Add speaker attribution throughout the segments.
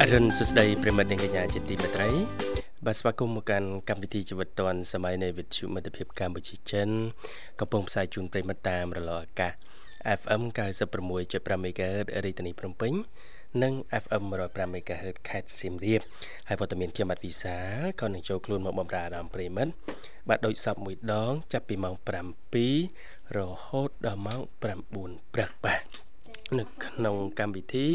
Speaker 1: អរិនសួស្ដីប្រិមិត្តនិងកញ្ញាជាទីមេត្រីបាទស្វាគមន៍មកកាន់កម្មវិធីជីវិតឌွန်សម័យនៃវិទ្យុមិត្តភាពកម្ពុជាចិនកំពុងផ្សាយជូនប្រិមិត្តតាមរលកអាកាស FM 96.5 MHz រាជធានីភ្នំពេញ និង FM 105 MHz ខេត្តសៀមរាបហើយវត្តមានខ្ញុំបាទវិសាលក៏នឹងចូលខ្លួនមកបម្រើអារម្មណ៍ប្រិមិត្តបាទដូចសពមួយដង ចាប់ពីម៉ោង7រហូតដល់ម៉ោង9ព្រឹកបាទ នៅក្នុងកម្មវិធី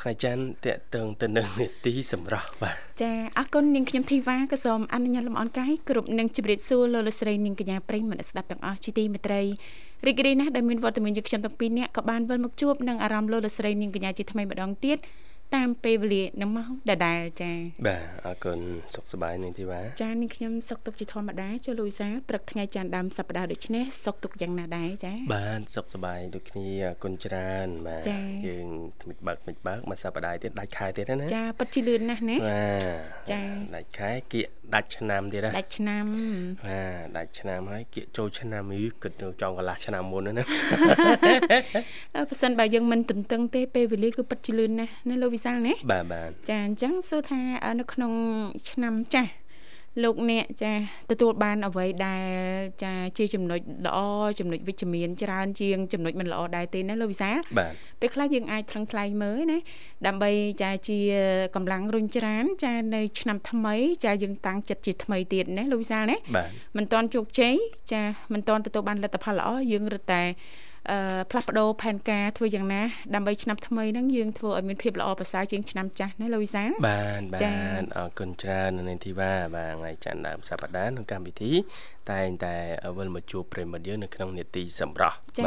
Speaker 1: ថ្ងៃច័ន្ទតកតងទៅនឹងនេតិសម្រាប់បាទ
Speaker 2: ចាអរគុណនាងខ្ញុំធីវ៉ាក៏សូមអនុញ្ញាតលំអរកាយគ្រប់នឹងជម្រាបសួរលោកលោកស្រីនាងកញ្ញាប្រិយមិត្តអ្នកស្ដាប់ទាំងអស់ជាទីមេត្រីរីករាយណាស់ដែលមានវត្តមានយើងខ្ញុំទាំងពីរនាក់ក៏បានវិលមកជួបនឹងអារម្មណ៍លោកលោកស្រីនាងកញ្ញាជាថ្មីម្ដងទៀតតាមពេលវេលានឹងម៉ោងដដែលចា
Speaker 1: បាទអរគុណសុខសប្បាយនាងធីវ៉ា
Speaker 2: ចានាងខ្ញុំសុខទុក្ខជាធម្មតាចូលលូយសាលព្រឹកថ្ងៃច័ន្ទដើមសប្ដាហ៍ដូចនេះសុខទុក្ខយ៉ាងណាដែរចា
Speaker 1: បាទសុខសប្បាយដូចគ្នាអរគុណច្រើនបាទ
Speaker 2: ចា៎
Speaker 1: យើងថ្មិចបើកថ្មិចបើកមកសប្តាហ៍ទៀតដាច់ខែទៀតហើយណា
Speaker 2: ចាពិតជាលឿនណាស់ណា
Speaker 1: បាទ
Speaker 2: ចា៎
Speaker 1: ដាច់ខែគៀកដាច់ឆ្នាំទៀតណា
Speaker 2: ដាច់ឆ្នាំ
Speaker 1: បាទដាច់ឆ្នាំហើយគៀកចូលឆ្នាំនេះគិតទៅចង់កន្លះឆ្នាំមុនហ្នឹងណា
Speaker 2: អឺប្រសិនបើយើងមិនទន្ទឹងទេពេលវេលាគឺពិតជាលឿនណាស់ណាលោកវិសាលណា
Speaker 1: បាទបាទ
Speaker 2: ចាអញ្ចឹងសួរថាអឺនៅក្នុងឆ្នាំចាស់លោកអ្នកចាទទួលបានអ្វីដែលចាជាចំណុចល្អចំណុចវិជ្ជមានច្រើនជាងចំណុចមិនល្អដែរទេណាលោកវិសាល
Speaker 1: បាទ
Speaker 2: ពេលខ្លះយើងអាចថ្លឹងថ្លែងមើលណាដើម្បីចាជាកម្លាំងរុញច្រានចានៅឆ្នាំថ្មីចាយើងតាំងចិត្តជាថ្មីទៀតណាលោកវិសាលណា
Speaker 1: បាទ
Speaker 2: មិនតាន់ជោគជ័យចាមិនតាន់ទទួលបានលទ្ធផលល្អយើងរឹតតែអឺផ្លាស់ប្ដូរផែនការធ្វើយ៉ាងណាដើម្បីឆ្នាំថ្មីហ្នឹងយើងធ្វើឲ្យមានភាពល្អប្រសើរជាងឆ្នាំចាស់ណាលោកវិសាល
Speaker 1: បាទបា
Speaker 2: ចា៎
Speaker 1: ទអរគុណច្រើននាងធីវ៉ាបាទថ្ងៃច័ន្ទដើមសប្តាហ៍ក្នុងកម្មវិធី តែងតែវិលមកជួបប្រិមិត្តយើងនៅក្នុងនេតិសម្រាប់
Speaker 2: ចា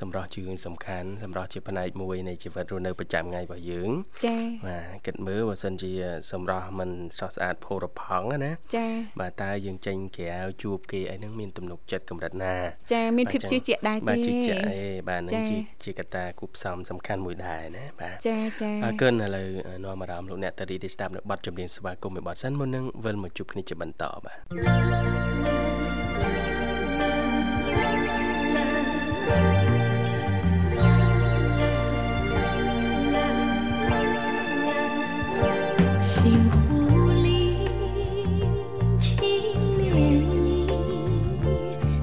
Speaker 1: សម្រាប់ជឿសំខាន់សម្រាប់ជាផ្នែកមួយនៃជីវិតរស់នៅប្រចាំថ្ងៃរបស់យើង
Speaker 2: ចា
Speaker 1: បាទគិតមើលបើសិនជាសម្រាប់មិនស្រស់ស្អាតផូរផង់ណា
Speaker 2: ចា
Speaker 1: បាទតើយើងចេញក្រៅជួបគេអីហ្នឹងមានទំនុកចិត្តកម្រិតណា
Speaker 2: ចាមានភាពជឿជាក់ដែរ
Speaker 1: បាទ
Speaker 2: ទេ
Speaker 1: ជឿជាក់អីបាទហ្នឹង
Speaker 2: ចា៎
Speaker 1: ជាជាកត្តាគូផ្សំសំខាន់មួយដែរណាបាទ
Speaker 2: ចាចា
Speaker 1: អរគុណឥឡូវនាំអារម្មណ៍លោកអ្នកតារីទីស្ដាប់នៅប័ណ្ណចម្រៀងស្វាគមន៍មួយប័ណ្ណសិនមុននឹងវិលមកជួបគ្នាជាបន្តបាទ
Speaker 3: 星湖里轻涟漪，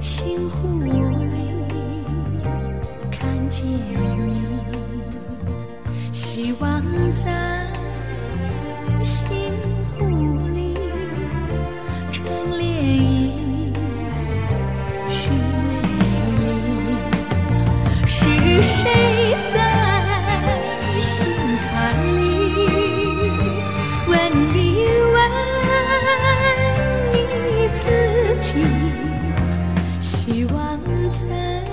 Speaker 3: 星湖里看见你，希望在星湖里成涟漪，寻美丽。是谁在心坎里问一问你自己？希望在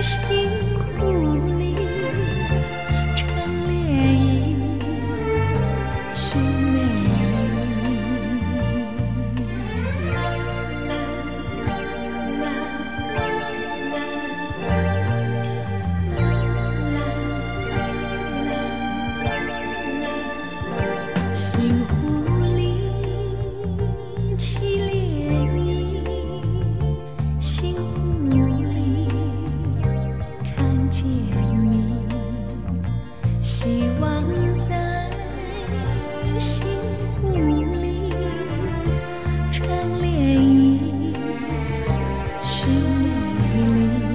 Speaker 3: 心湖里成涟漪，寻美丽。星湖里起涟漪，星湖里看见你，希望在星湖里成涟漪，寻美丽。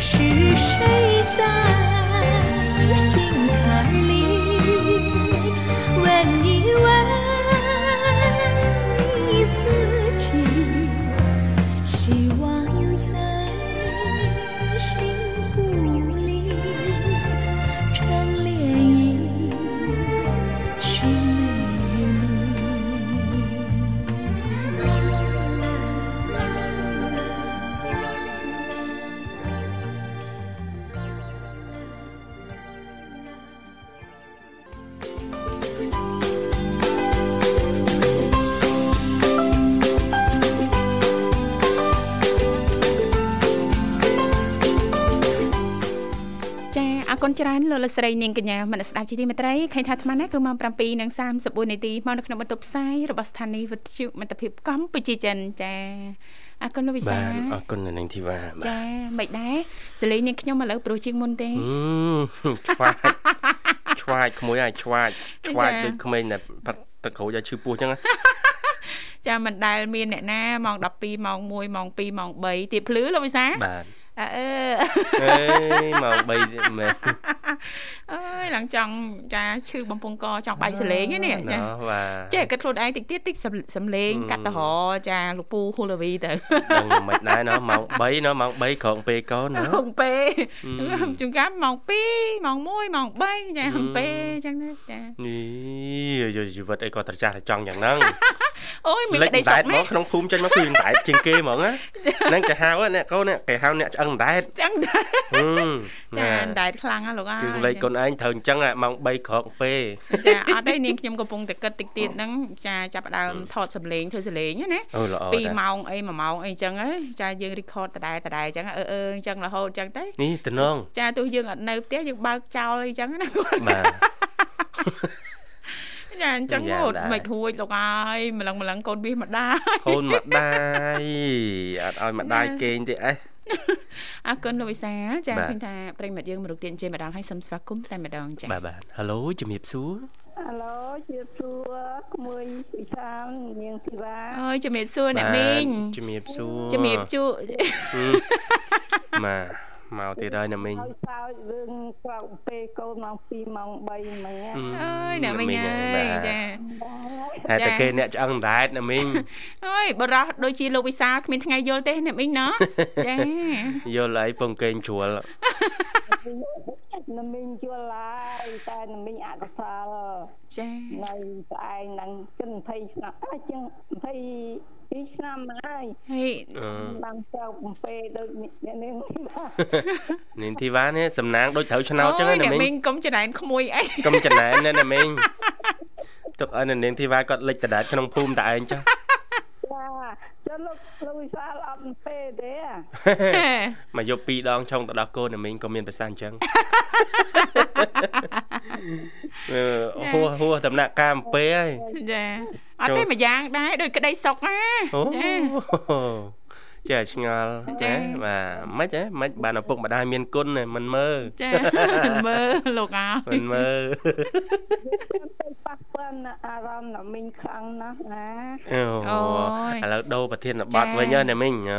Speaker 3: 是谁在心坎里问一问你自己？希望在心湖里成涟漪，寻美丽。
Speaker 2: អរគុណច្រើនលោកលកស្រីនាងកញ្ញាមនស្សស្ដាប់ជីវិតមេត្រីឃើញថាអាត្មានេះគឺម៉ោង7:34នាទីមកនៅក្នុងបន្ទប់ផ្សាយរបស់ស្ថានីយ៍វិទ្យុមិត្តភាពកម្ពុជាចិនចាអរគុណលោកវិ
Speaker 1: បា
Speaker 2: សា
Speaker 1: ទអរគុណនៅនឹងធីវ៉ាបាទ
Speaker 2: ចាមិនដែរសលេងនាងខ្ញុំឥឡូវព្រោះជាងមុនទេ
Speaker 1: អឺឆ្វាចឆ្វាចក្មួយឲ្យឆ្វាចឆ្វាច
Speaker 2: ចា៎
Speaker 1: ដូចក្មេងតែផាត់ទឹកក្រូចឲ្យឈឺពោះអញ្ចឹងណា
Speaker 2: ចាមិនដែលមានអ្នកណាម៉ោង12ម៉ោង1ម៉ោង2ម៉ោង3ទៀតភ្លឺលោកវិសា
Speaker 1: បាទ
Speaker 2: អើអើ
Speaker 1: អេម៉ោង3ទៀតមែន
Speaker 2: អើយឡើងចង់ចាឈឺបំពង់កចង់បាយសលេងហ្នឹងនេះ
Speaker 1: ណ៎
Speaker 2: ចា
Speaker 1: បាទ
Speaker 2: ចេះគិតខ្លួនឯងតិចទៀតតិចសំសំលេងកាត់តរចាលោកពូហ៊ូឡាវីទៅ
Speaker 1: ដឹងមិនដែរណោះម៉ោង3ណោះម៉ោង3ក្រងពេលកោណោះ
Speaker 2: ហុងពេ
Speaker 1: អឺ
Speaker 2: ជំកាប់ម៉ោង2ម៉ោង1ម៉ោង3ចាហុងពេអញ្ចឹងណាចា
Speaker 1: នេះយជីវិតអីក៏ត្រចះត្រចង់យ៉ាងហ្នឹង
Speaker 2: អូយមាន
Speaker 1: លេច
Speaker 2: ក្តី
Speaker 1: ដែ
Speaker 2: សុ
Speaker 1: ត
Speaker 2: ខ
Speaker 1: ម
Speaker 2: ណា
Speaker 1: កក្នុងភូមិចេញមកគឺដែតជាងគេហ្មងណាហ្នឹងគេហៅអ្នកកូនអ្នកគេហៅអ្នកឆ្អឹងដែត
Speaker 2: ចឹងដែរ
Speaker 1: ហឹម
Speaker 2: ចា
Speaker 1: ណា
Speaker 2: ដែតខ្លាំងណាស់លោកអើយ
Speaker 1: ជើងលេខកូនឯងត្រូវអញ្ចឹងអាម៉ោង3ក្រងពេល
Speaker 2: ចាអត់ទេនាងខ្ញុំកំពុងតែគិតតិចទៀតហ្នឹងចាចាប់ផ្ដើមថតសំលេងធ្វើសំលេងហ្នឹងណា
Speaker 1: អូល្អ
Speaker 2: ពីរ
Speaker 1: តែ
Speaker 2: ម៉ោងអីមួយម៉ោងអីអញ្ចឹងហ៎ចាយើងរីកອດដដែលដដែលអញ្ចឹងអឺអឺអញ្ចឹងរហូតអញ្ចឹងទៅ
Speaker 1: នេះតំណង
Speaker 2: ចាទោះយើងអត់នៅផ្ទះយើងបើកចោលអីអញ្ចឹងណាគាត់
Speaker 1: បាទ
Speaker 2: ចាអញ្ចឹង
Speaker 1: យ៉ាង
Speaker 2: ហូត
Speaker 1: ដែរ
Speaker 2: មិនរួចលោកអើយម្លឹងម្លឹងកូនវាសម្ដា
Speaker 1: កូនម្ដាយអត់ឲ្យម្ដាយគេងទេអេ
Speaker 2: អរគុណលោកវិសាលចា
Speaker 1: បាទ
Speaker 2: ឃើញថាប្រិមត្តយើងមករកទៀតអញ្ជើញម្ដងហើយសូមស្វាគមន៍តែម្ដងចា
Speaker 1: បាទបាទហៅឡូជំរាបសួរ
Speaker 4: ឥឡូវជាសួរក្មួយពិសាលនាងធីវ៉ា
Speaker 2: អើយជំរាបសួរអ្នកមីង
Speaker 1: បាទជំរាបសួរ
Speaker 2: ជំរាប ជូ
Speaker 1: ហឹមបាទមកទៀតហើយអ្នកមីង
Speaker 4: ហើយសោចរឿងក្រោកពេលកូនម៉ោង2ម៉ោង3មិញ
Speaker 1: ហឹម
Speaker 2: អើយអ្នកមីងអើយ
Speaker 1: បាទ
Speaker 2: ចា
Speaker 1: ហេតុតែគេអ្នកឆ្អឹងដែតណាមីង
Speaker 2: អើយបរោះដូចជាលោកវិសាលគ្មានថ្ងៃយល់ទេអ្នកមីងណោះ ចា
Speaker 1: យល់អីពងកេងជ្រួល
Speaker 4: នំមីងជួលហើយតែនំមីងអកុសល
Speaker 2: ចា
Speaker 4: នៅស្អែងហ្នឹងជិន20ឆ្នាំអើជាង22ឆ្នាំហើយ
Speaker 2: ហើយ
Speaker 1: អឺ
Speaker 4: បានក្រោកពេលដូចអ្នកនាងធីវ៉ា
Speaker 1: នាងធីវ៉ានេះសំណាងដូចត្រូវឆ្នោតចឹងណា
Speaker 2: អ្នក
Speaker 1: មី
Speaker 2: មី
Speaker 1: ង
Speaker 2: ងកុំច្រណែនក្មួយអី
Speaker 1: កុំចំណែនណាណាមីងទុកឲ្យនាងធីវ៉ាគាត់លិចដដាតក្នុងភូមិតែឯងចុះ
Speaker 4: ចាចុះលោកលោកវិសាលអត់ពេលទេ
Speaker 1: មកយកពីរដងឆុងទៅដោះកូនណាមីងក៏មានប្រសាសន៍ចឹងអឺហួសហួសដំណាក់កាលអំពេហើយ
Speaker 2: ចាអត់ទេ
Speaker 1: ចូល
Speaker 2: មួយយ៉ាងដែរដូចក្តីសុកណា
Speaker 1: អូ
Speaker 2: ចា
Speaker 1: ចាឆ្ងល់
Speaker 2: ចា
Speaker 1: ណាបាទមិនហ៎មិនបានឪពុកម្ដាយមានគុណណាមិនមើល
Speaker 2: ចាមើលលោកអើយ
Speaker 1: មិនមើល
Speaker 4: ទៅប៉ះពាល់នឹងអារម្មណ៍នំមីងខ្លាំងណាស់ណា
Speaker 1: អូ
Speaker 2: អូយ
Speaker 1: ឥឡូវដូរប្រធានបတ်
Speaker 2: ចា
Speaker 1: វិញហ៎ណាមីងអឺ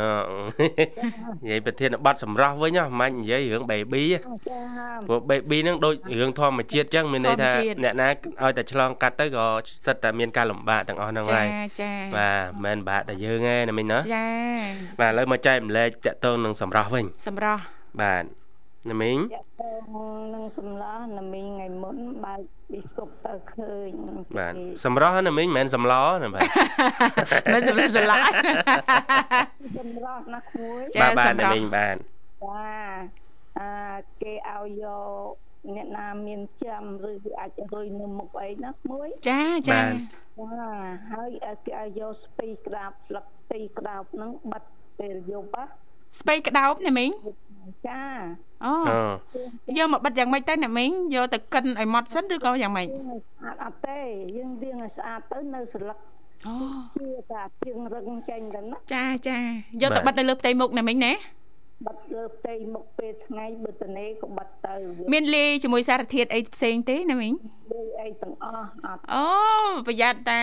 Speaker 1: និយាយប្រធានបတ်សម្រាប់វិញហ៎មិននិយាយរឿង baby ហ៎
Speaker 4: ចាហាម
Speaker 1: ព្រោះ baby ហ្នឹងដូចរឿងធម្មជាតិចឹងមានន័យថា
Speaker 2: ធម្មជាតិ
Speaker 1: អ្នកណាឲ្យតែឆ្លងកាត់ទៅក៏សិតតែមានការលំបាកទាំងអស់ហ្នឹង
Speaker 2: ចា
Speaker 1: ហើយ
Speaker 2: ចា
Speaker 1: បាទមិនបាក់តែយើងឯងណាមីងណា
Speaker 2: ចា
Speaker 1: បាទឥឡូវមកចែកម្លែកតកតងនឹងសម្រាប់វិញ
Speaker 2: សម្រស់
Speaker 1: បាទណាមីង
Speaker 4: តាក់ទងនឹងសម្លាស់នមីងថ្ងៃមុនបើកពីសុកទៅឃើញ
Speaker 1: បាទ
Speaker 4: គេ
Speaker 1: សម្រាប់ណាមីងមិនមែនសម្លណាបាទ
Speaker 2: មិនសម្រាប់ស្លា យ
Speaker 4: សម្លាស់ណាស់គួយ
Speaker 1: បា
Speaker 2: ចា៎
Speaker 1: ទបាទ
Speaker 2: សម្រស់
Speaker 1: ណាមីងបាទ
Speaker 4: ចាអាគេឲ្យយកអ្នកណាមានចាំឬអាចរុយនៅមុខអីណាស់គួយ
Speaker 2: ចាចា
Speaker 1: បាទ
Speaker 4: ចាហើយឲ្យគេឲ្យយកស្ពីក្រាបស្លឹកទីក្រាបហ្នឹងបិទពេលយប់ហ៎
Speaker 2: ស្ពៃក្តោបណាមីង
Speaker 4: ចា
Speaker 2: អូ
Speaker 1: អូ
Speaker 2: យកមកបិទយ៉ាងម៉េចទៅណាមីងយកទៅកិនឲ្យម៉ត់សិនឬក៏យ៉ាងម៉េច
Speaker 4: យើងស្អាតអត់ទេយើងរៀងឲ្យស្អាតទៅនៅស្លឹក
Speaker 2: អូ
Speaker 4: ជាតាជើងរឹងចេញទៅណា
Speaker 2: ចាចាយកទៅបិទនៅលើផ្ទៃមុខណាមីងណា
Speaker 4: បិទលើផ្ទៃមុខពេលថ្ងៃបើតនេក៏បិទទៅវា
Speaker 2: មានលាយជាមួយសារធាតុអីផ្សេងទេណាមីង
Speaker 4: ដូចអីទាំងអស់អត់
Speaker 2: អូប្រយ័ត្នតា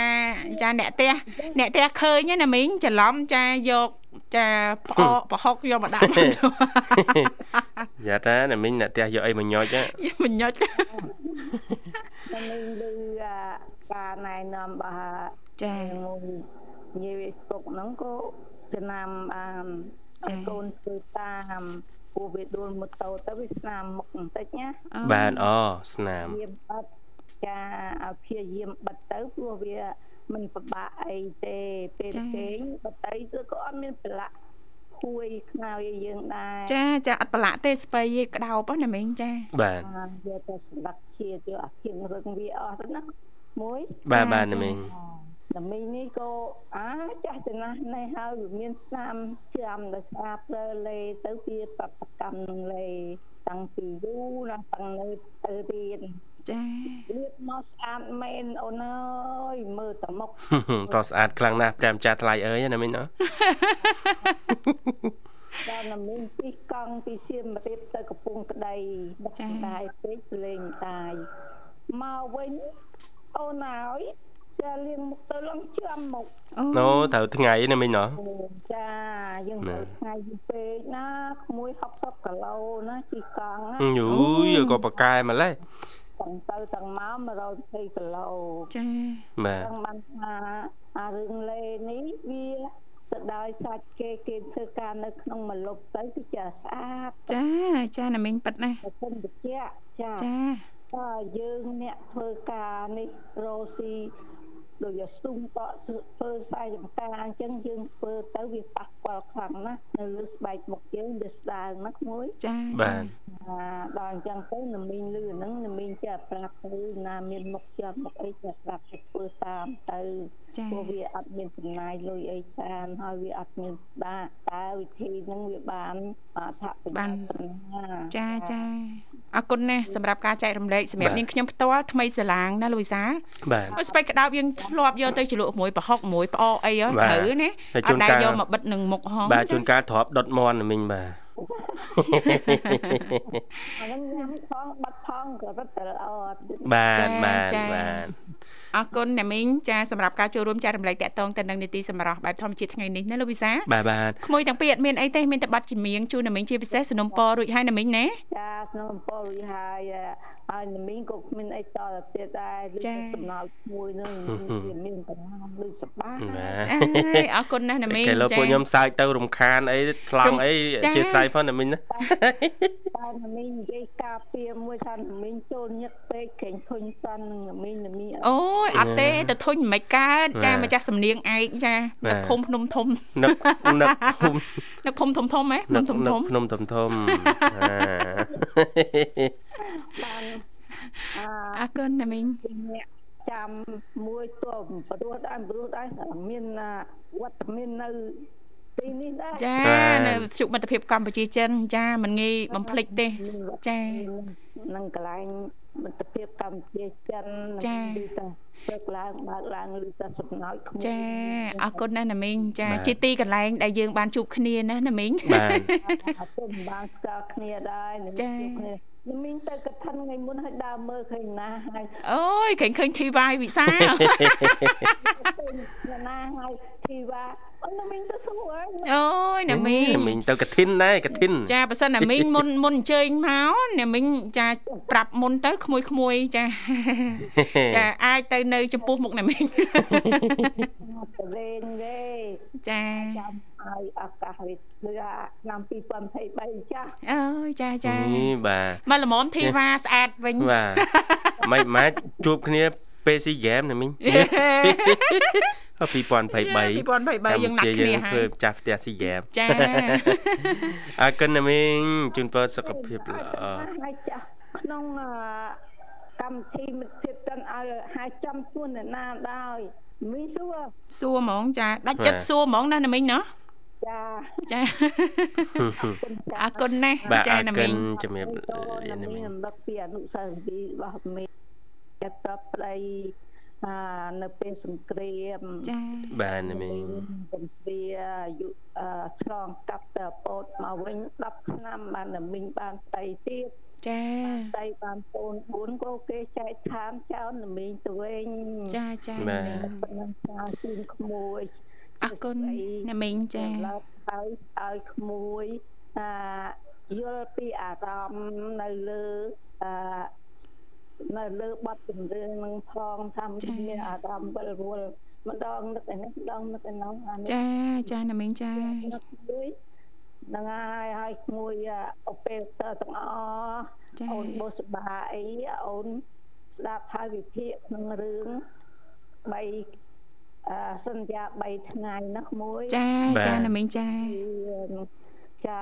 Speaker 2: ចាអ្នកផ្ទះអ្នកផ្ទះឃើញហ្នឹងណាមីងច្រឡំចាយកចាផ្អកប្រហុកយកមក ដាក់ក្នុងនោះ
Speaker 1: យ៉ាតាណាមីងអ្នកផ្ទះយកអីមកញោចហ៎
Speaker 2: មិនញ៉ាច់
Speaker 4: តែនេះលើការណែនាំរបស់
Speaker 2: ចា
Speaker 4: មួយយាយស្ពុកហ្នឹងក៏ចំណាំបានឲ្យកូនធ្វើតាមពូវាដួលម៉ូតូទៅវាស្នាមមុខបន្តិចណា
Speaker 2: អូ
Speaker 1: បាទអូស្នាម
Speaker 4: វាបិទចាឲ្យព្យាយាមបិទទៅព្រោះវាមិនពិបាកអីទេពេលគេងបិទទៅគឺក៏អត់មានប្រឡាក់ហួយខ្នើយយើងដែរ
Speaker 2: ចាចាអត់ប្រឡាក់ទេស្បៃឯងក្តោបហ្នឹងណាមីងចា
Speaker 1: បាទ
Speaker 4: បានយកទៅសម្រាប់ជាយកអាធៀងរឹងវាអស់ទៅណាមួយ
Speaker 1: បាទបាទណាមីង
Speaker 4: តែមីងនេះក៏អាចាស់ចំណាស់នេះហើយវាមានស្នាមជ្រាំដល់ស្អាតលើលេទៅវាបបកម្មនឹងលេ តាំងពីយូរណាស់តាំងនៅទៅរៀន
Speaker 2: ចា
Speaker 4: លៀបមកស្អាតមែនអូនអើយមើលតមុខ
Speaker 1: តោះស្អាតខ្លាំងណាស់ព្រះម្ចាស់ថ្លៃអើយណាមិញណា
Speaker 4: ដល់ណាមីងពីកង់ពីសៀមរាបទៅកំពង់ក្ដីដាក់តែពេកលេងតាយមកវិញអូនអើយចាលៀងមុខទៅឡើងជាប់មុខ
Speaker 1: ណូត្រូវថ្ងៃណាមិញណា
Speaker 4: ចាយើងទៅថ្ងៃយូរពេកណាក្មួយ60គីឡូណាជីកង់ណា
Speaker 1: យូយក៏ប៉ាកែម្លេះ
Speaker 4: ទាំងទៅទាំងមក120គីឡូ
Speaker 2: ចា
Speaker 1: បាទ
Speaker 4: ទាំងបានថាអារឿងលេងនេះវាទៅដោយសាច់គេគេធ្វើការនៅក្នុងមលប់ទៅគឺចាស្អាត
Speaker 2: ចាចាណាមីងប៉ិតណាស់
Speaker 4: ប្រសិនបជាក់ចា
Speaker 2: ចា
Speaker 4: តែយើងអ្នកធ្វើការនេះរោស៊ីដោយយកស្ទុំតក់ធ្វើខ្សែចំការអញ្ចឹងយើងធ្វើទៅវាប៉ះពាល់ខ្លាំងណាស់នៅលើស្បែកមុខយើងវាស្ដើងណាក្មួយ
Speaker 2: ចា
Speaker 1: បាទ
Speaker 4: អាដល់អញ្ចឹងទៅនមីងលឺហ្នឹងនមីងចេះប្រាប់ទៅណាមានមុខជាប់មុខអីចេះប្រាប់ទៅធ្វើតាមទៅ
Speaker 2: ចា
Speaker 4: ព្រោះវាអត់មានចំណាយលុយអីច្រើនហើយវាអត់មានស្ដាកតែវិធីហ្នឹងវាបានអត្ថប្រយោជន៍ប៉ុណ្ណា
Speaker 2: ចាចាអរគុណណាស់សម្រាប់ការចែករំលែកសម្រាប់នាងខ្ញុំផ្ទាល់ថ្មីសាឡាងណាលូយសា
Speaker 1: បាទ
Speaker 2: អត់ស្បែកក្តោបយើងធ្លាប់យកទៅជ្រលក់មួយប្រហុកមួយផ្អកអីហ៎
Speaker 1: បាទ
Speaker 2: ត្រូវណា
Speaker 1: ហើយ
Speaker 2: អ
Speaker 1: ជួន
Speaker 2: ត់ដែ
Speaker 1: កា
Speaker 2: រ
Speaker 1: ល
Speaker 2: យកមកបិទនឹងមុខហង
Speaker 1: បាទជួនកាលធ្លាប់ដុតមន់ណាមិញបាទ
Speaker 4: អាហ្នឹងញ៉ាំផងបាត់ផងក៏រត់តែល្អ
Speaker 1: បាទបាទបាទ
Speaker 2: អរគុណណាមីងចាសម្រាប់ការចូលរួមចែករំលែកតាក់ទងទៅនឹងនីតិសម្រាប់បែបធម្មជាតិថ្ងៃនេះណាលូយសា
Speaker 1: បាទបាទ
Speaker 2: ក្មួយទាំងពីរអត់មានអីទេមានតែប័ណ្ណជំនៀងជូនណាមីងជាពិសេសសនុំពររួចហើយណាមីងណា
Speaker 4: ចាក្នុងអំពើរួចហើយហើយនមីងក៏គ្មានអីតទៅទៀតដែរឬ
Speaker 2: ចា
Speaker 4: សំណោចមួយ ហ្នឹងវាមានបញ្ហាលឺសប្បាយ
Speaker 1: ណា
Speaker 2: អើយអរគុណណាស់ណាមីង
Speaker 1: គេលើពួកខ្ញុំសើចទៅរំខានអីថ្លង់អី
Speaker 2: ចា
Speaker 1: អធិស្ឋានផងណាមិញ ណា
Speaker 4: តែនមីងនិយាយការពារមួយថានមីងចូលញឹកពេកក្រែងធុញសាន់នឹងនមីងនមីងអត់
Speaker 2: អូយអត់ទេទៅធុញមិនកើតចាម្ចាស់សំនៀងឯកចានៅភូមិភ្នំធំ
Speaker 1: នឹកនឹកភូមិ
Speaker 2: នៅភូមិធំធំហ៎ភ្នំធំធំ
Speaker 1: ភ្នំធំធំ អា
Speaker 4: បាន
Speaker 2: អរគុណណាមីង
Speaker 4: ពីអ្នកចាំមួយទល់ព្រោះដែរព្រោះដែរមានអាវត្តមាននៅទីនេះដែរ
Speaker 2: ចា
Speaker 1: បាទ
Speaker 2: នៅវិទ្យុមិត្តភាពកម្ពុជាចិន ចាមិនងាយបំភ្លេចទេចា
Speaker 4: នឹងកន្លែងមិត្តភាពកម្ពុជាចិន
Speaker 2: ចា
Speaker 4: ទីតាព្រឹកឡើងបើកឡើងឬតែសំណោចគ្មាន
Speaker 2: ចាអរគុណណាស់ណាមីងចា
Speaker 1: បាទ
Speaker 2: ជាទីកន្លែងដែលយើងបានជួបគ្នាណាណាមីង
Speaker 1: បាទ
Speaker 4: អត់ទៅមិនបានស្គាល់គ្នាដែរនឹង
Speaker 2: ចា
Speaker 4: ជួបគ្នានឹងមានទៅកឋិនថ្ងៃមុនឲ្យដើរមើលឃើញណាហើយ
Speaker 2: អូយឃើញឃើញធីវ៉ៃវិសាល
Speaker 4: ឃើញអ្នកណាហើយធីវ៉ាអូននឹងទៅសួរហើយ
Speaker 2: អូយណាមីង
Speaker 1: មីងទៅកឋិនដែរកឋិន
Speaker 2: ចាបើសិនណាមីងមុនមុនអញ្ជើញមកណាមីងចាប្រាប់មុនទៅក្មួយក្មួយៗចា ចាអាចទៅនៅចំពោះមុខណាមីង
Speaker 4: អត់ទៅលេងទេ
Speaker 2: ចា
Speaker 4: ចាំឲ្យឱកាសវិទ្យាឆ្នាំ2023ចាស់
Speaker 2: អើយចាចា
Speaker 1: នេះបាទ
Speaker 2: មកល្មមធីវ៉ាស្អាតវិញ
Speaker 1: បាទមិនម៉ាច់ជួបគ្នាពេលស៊ីហ្គេមណាមីង
Speaker 2: យេ
Speaker 1: 2023
Speaker 2: 2023យើងណាត់គ្នាហើ
Speaker 1: ធ្វើ
Speaker 2: យ
Speaker 1: ម្ចាស់ផ្ទះស៊ីហ្គេម
Speaker 2: ចា
Speaker 1: អរគុណណាមីងជូនពរសុខភាពល្អ
Speaker 4: ហើយចាស់ក្នុងអឺកម្មវិធីមិត្តភាពទាំងឲ្យហើយចំខ្លួនអ្នកណាដែរមីសួរ
Speaker 2: សួរហ្មងចាដាច់ចិត្តសួរហ្មងណាណាមីងណោះ
Speaker 4: ចា
Speaker 2: ចា
Speaker 4: គុណ
Speaker 2: អរគុណណាស់
Speaker 1: បាទ
Speaker 2: ចា
Speaker 1: អរ
Speaker 2: ណា
Speaker 1: គុ
Speaker 2: មី
Speaker 1: ណ
Speaker 2: ង
Speaker 1: ជំរាប
Speaker 4: តូន
Speaker 1: លាណាមី
Speaker 4: មាន
Speaker 1: ង
Speaker 4: អំណឹកពីអនុស្សាវរីយ៍របស់មីចិត្តតបប្តីអានៅពេលសង្គ្រាម
Speaker 2: ចា
Speaker 1: បាទណាមីង
Speaker 4: កំពីអាយុអឺឆ្លងកាត់ទៅពតមកវិញ10ឆ្នាំបានតែមីងបានស្ដីទៀត
Speaker 2: ចា
Speaker 4: ស្ដីបានកូន4ក៏គេចែកឋានចោលមីងទៅវិញ
Speaker 2: ចាចាណាមីង
Speaker 4: ប៉ុណ្ណឹងចាជូនក្មួយ
Speaker 2: អរគុណណាមីងចា
Speaker 4: ឡើយហើយឲ្យក្មួយអាយល់ពីអារម្មណ៍នៅលើអានៅលើបទចម្រៀងនឹងផងថាមានអារម្មណ៍វិលវល់ម្ដងនឹកឯនេះម្ដងនឹកឯនោះអានេះ
Speaker 2: ចាចាណាមីងចា
Speaker 4: មួយហ្នឹងហើយហើយមួយអូពេតទាំងអស់
Speaker 2: ចា
Speaker 4: អូនបុសបាអីអូនស្ដាប់ហើយវិភាគក្នុងរឿង3អឺសន្យា3ថ្ងៃណាមួយ
Speaker 2: ចាចាណាមីងចា
Speaker 4: ចា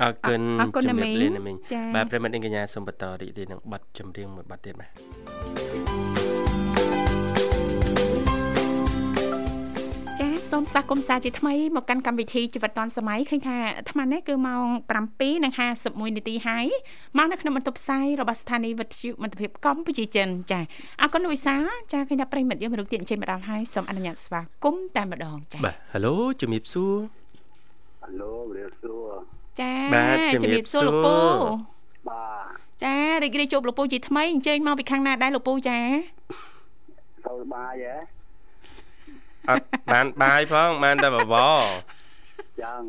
Speaker 1: អរគុណ
Speaker 2: អរគុណ
Speaker 1: ជំរាបលា
Speaker 2: ណា
Speaker 1: ណា
Speaker 2: មី
Speaker 1: មីង
Speaker 2: ងចា៎
Speaker 1: បាទប្រិមត្តនាងកញ្ញាសូមបន្តរីករាយនឹងប័ណ្ណចម្រៀងមួយប័ណ្ណទៀតបាទ
Speaker 2: ចាស សូមស្វាគមន៍សាជាថ្មីមកកាន់កម្មវិធីជីវិតឌွန်សម័យឃើញថាអាត្មានេះគឺម៉ោង7:51នាទីហើយមកនៅក្នុងបន្ទប់ផ្សាយរបស់ស្ថានីយ៍វិទ្យុមិត្តភាពកម្ពុជាចិនចាអរគុណលោកវិសាលចាឃើញថាប្រិយមិត្តយើងមករកទៀតអញ្ជើញមកដល់ហើយសូមអនុញ្ញាតស្វាគមន៍តែម្ដងចា
Speaker 1: បាទហេឡូជំរាបសួរ
Speaker 5: ហឡូវាសួរ
Speaker 2: ចា
Speaker 1: បាទជំរាប
Speaker 2: សួរលោក
Speaker 1: សួ
Speaker 2: ពូ
Speaker 1: រ
Speaker 5: បាទ
Speaker 2: ចារីករាយជួបលោកពូជាថ្មីអញ្ជើញមកពីខាងណាដែរលោកពូចា
Speaker 5: សុខសប្បាយហ៎
Speaker 1: អត់បានបាយផងបានតែបវរ
Speaker 5: ចឹង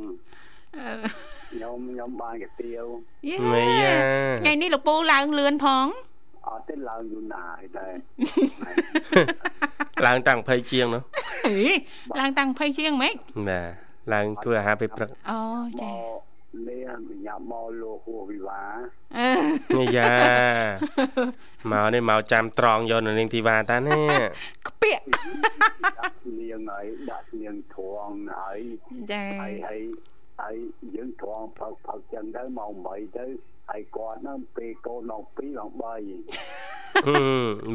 Speaker 5: ខ្ញុំខ្ញុំបានកាទៀវ
Speaker 2: យេ
Speaker 1: មីយ៉ា
Speaker 2: ថ្ងៃនេះលោកពូឡើងលឿនផង
Speaker 5: អត់ទេឡើងយូរណាស់ហើយតែ
Speaker 1: ឡើងតាំង20ជាងនោះ
Speaker 2: ហេឡើងតាំង20ជាងហ្មង
Speaker 1: បាទឡើងធ្វើអាហារពេលព្រឹក
Speaker 2: អូ
Speaker 5: ម
Speaker 2: ចា
Speaker 5: កនេះញ៉ាំមកលោកហួសវិវា
Speaker 2: អឺ
Speaker 1: មីយ៉ាមកនេះមកចាំត្រង់យកនៅនាងធីវ៉ាតានេះ
Speaker 2: ក្ពាក់
Speaker 5: ដាក់ស្នៀងហើយដាក់ស្នៀងធងហើយ
Speaker 2: ចា
Speaker 5: ហើយហើយហើយយើងធងផឹកផឹកចឹងទៅម៉ោង8ទៅហើយគាត់ហ្នឹងពេលកូនម៉ោង2ម៉ោង3
Speaker 1: ហឹម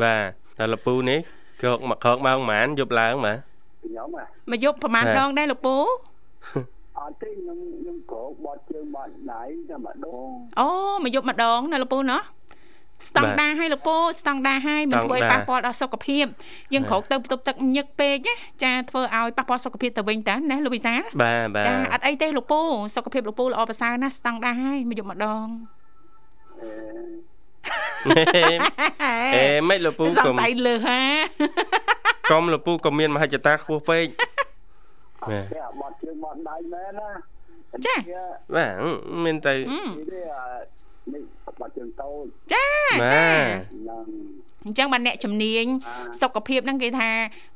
Speaker 1: បាទដល់លកពូនេះក្រកមកក្រកមកប្រហែលយប់ឡើងបាទ
Speaker 5: ខ្ញុំហ៎
Speaker 2: មកយប់ប្រហែល
Speaker 1: ហេ
Speaker 2: ដងដែរលោកពូ
Speaker 5: អត់ទេខ្ញុំខ្ញុំក្រោកបត់ជើងបត់ដៃតែម្ដង
Speaker 2: អូមកយប់ម្ដងណាលោកពូណោះស្តង់ដារឲ្យលោកពូស្តង់ដារឲ្យមិនធ្វើឲ្យ
Speaker 1: ស្តង់ដារ
Speaker 2: ប៉ះពាល់ដល់សុខភាពយើង
Speaker 1: បាទ
Speaker 2: ក្រោកទៅបន្ទប់ទឹកញឹកពេកណាចាធ្វើឲ្យប៉ះពាល់សុខភាពទៅវិញតាណាលោកវិសាល
Speaker 1: បាទបាទ
Speaker 2: ចាអត់អីទេលោកពូសុខភាពលោកពូល្អប្រសើរណាស់ស្តង់ដារឲ្យមកយប់ម្ដង
Speaker 1: អេ មិនលកពូ
Speaker 2: ស
Speaker 1: កុំ
Speaker 2: ង្ស័យលើសហា
Speaker 1: កុំលកពូក៏មានមហិច្ឆតាខ្ពស់ពេកបាទ
Speaker 5: តែអាបត់ជើងបត់ដៃមែនណា
Speaker 2: ចា
Speaker 1: បា
Speaker 5: វា
Speaker 1: ទអឺមានតែ
Speaker 2: អឺម
Speaker 5: នេះទេអានេះបត់ជើងតូច
Speaker 2: ចា
Speaker 1: បាទ
Speaker 2: ចា
Speaker 5: នឹង
Speaker 2: អញ្ចឹងបាទអ្នកជំនាញសុខភាពហ្នឹងគេថា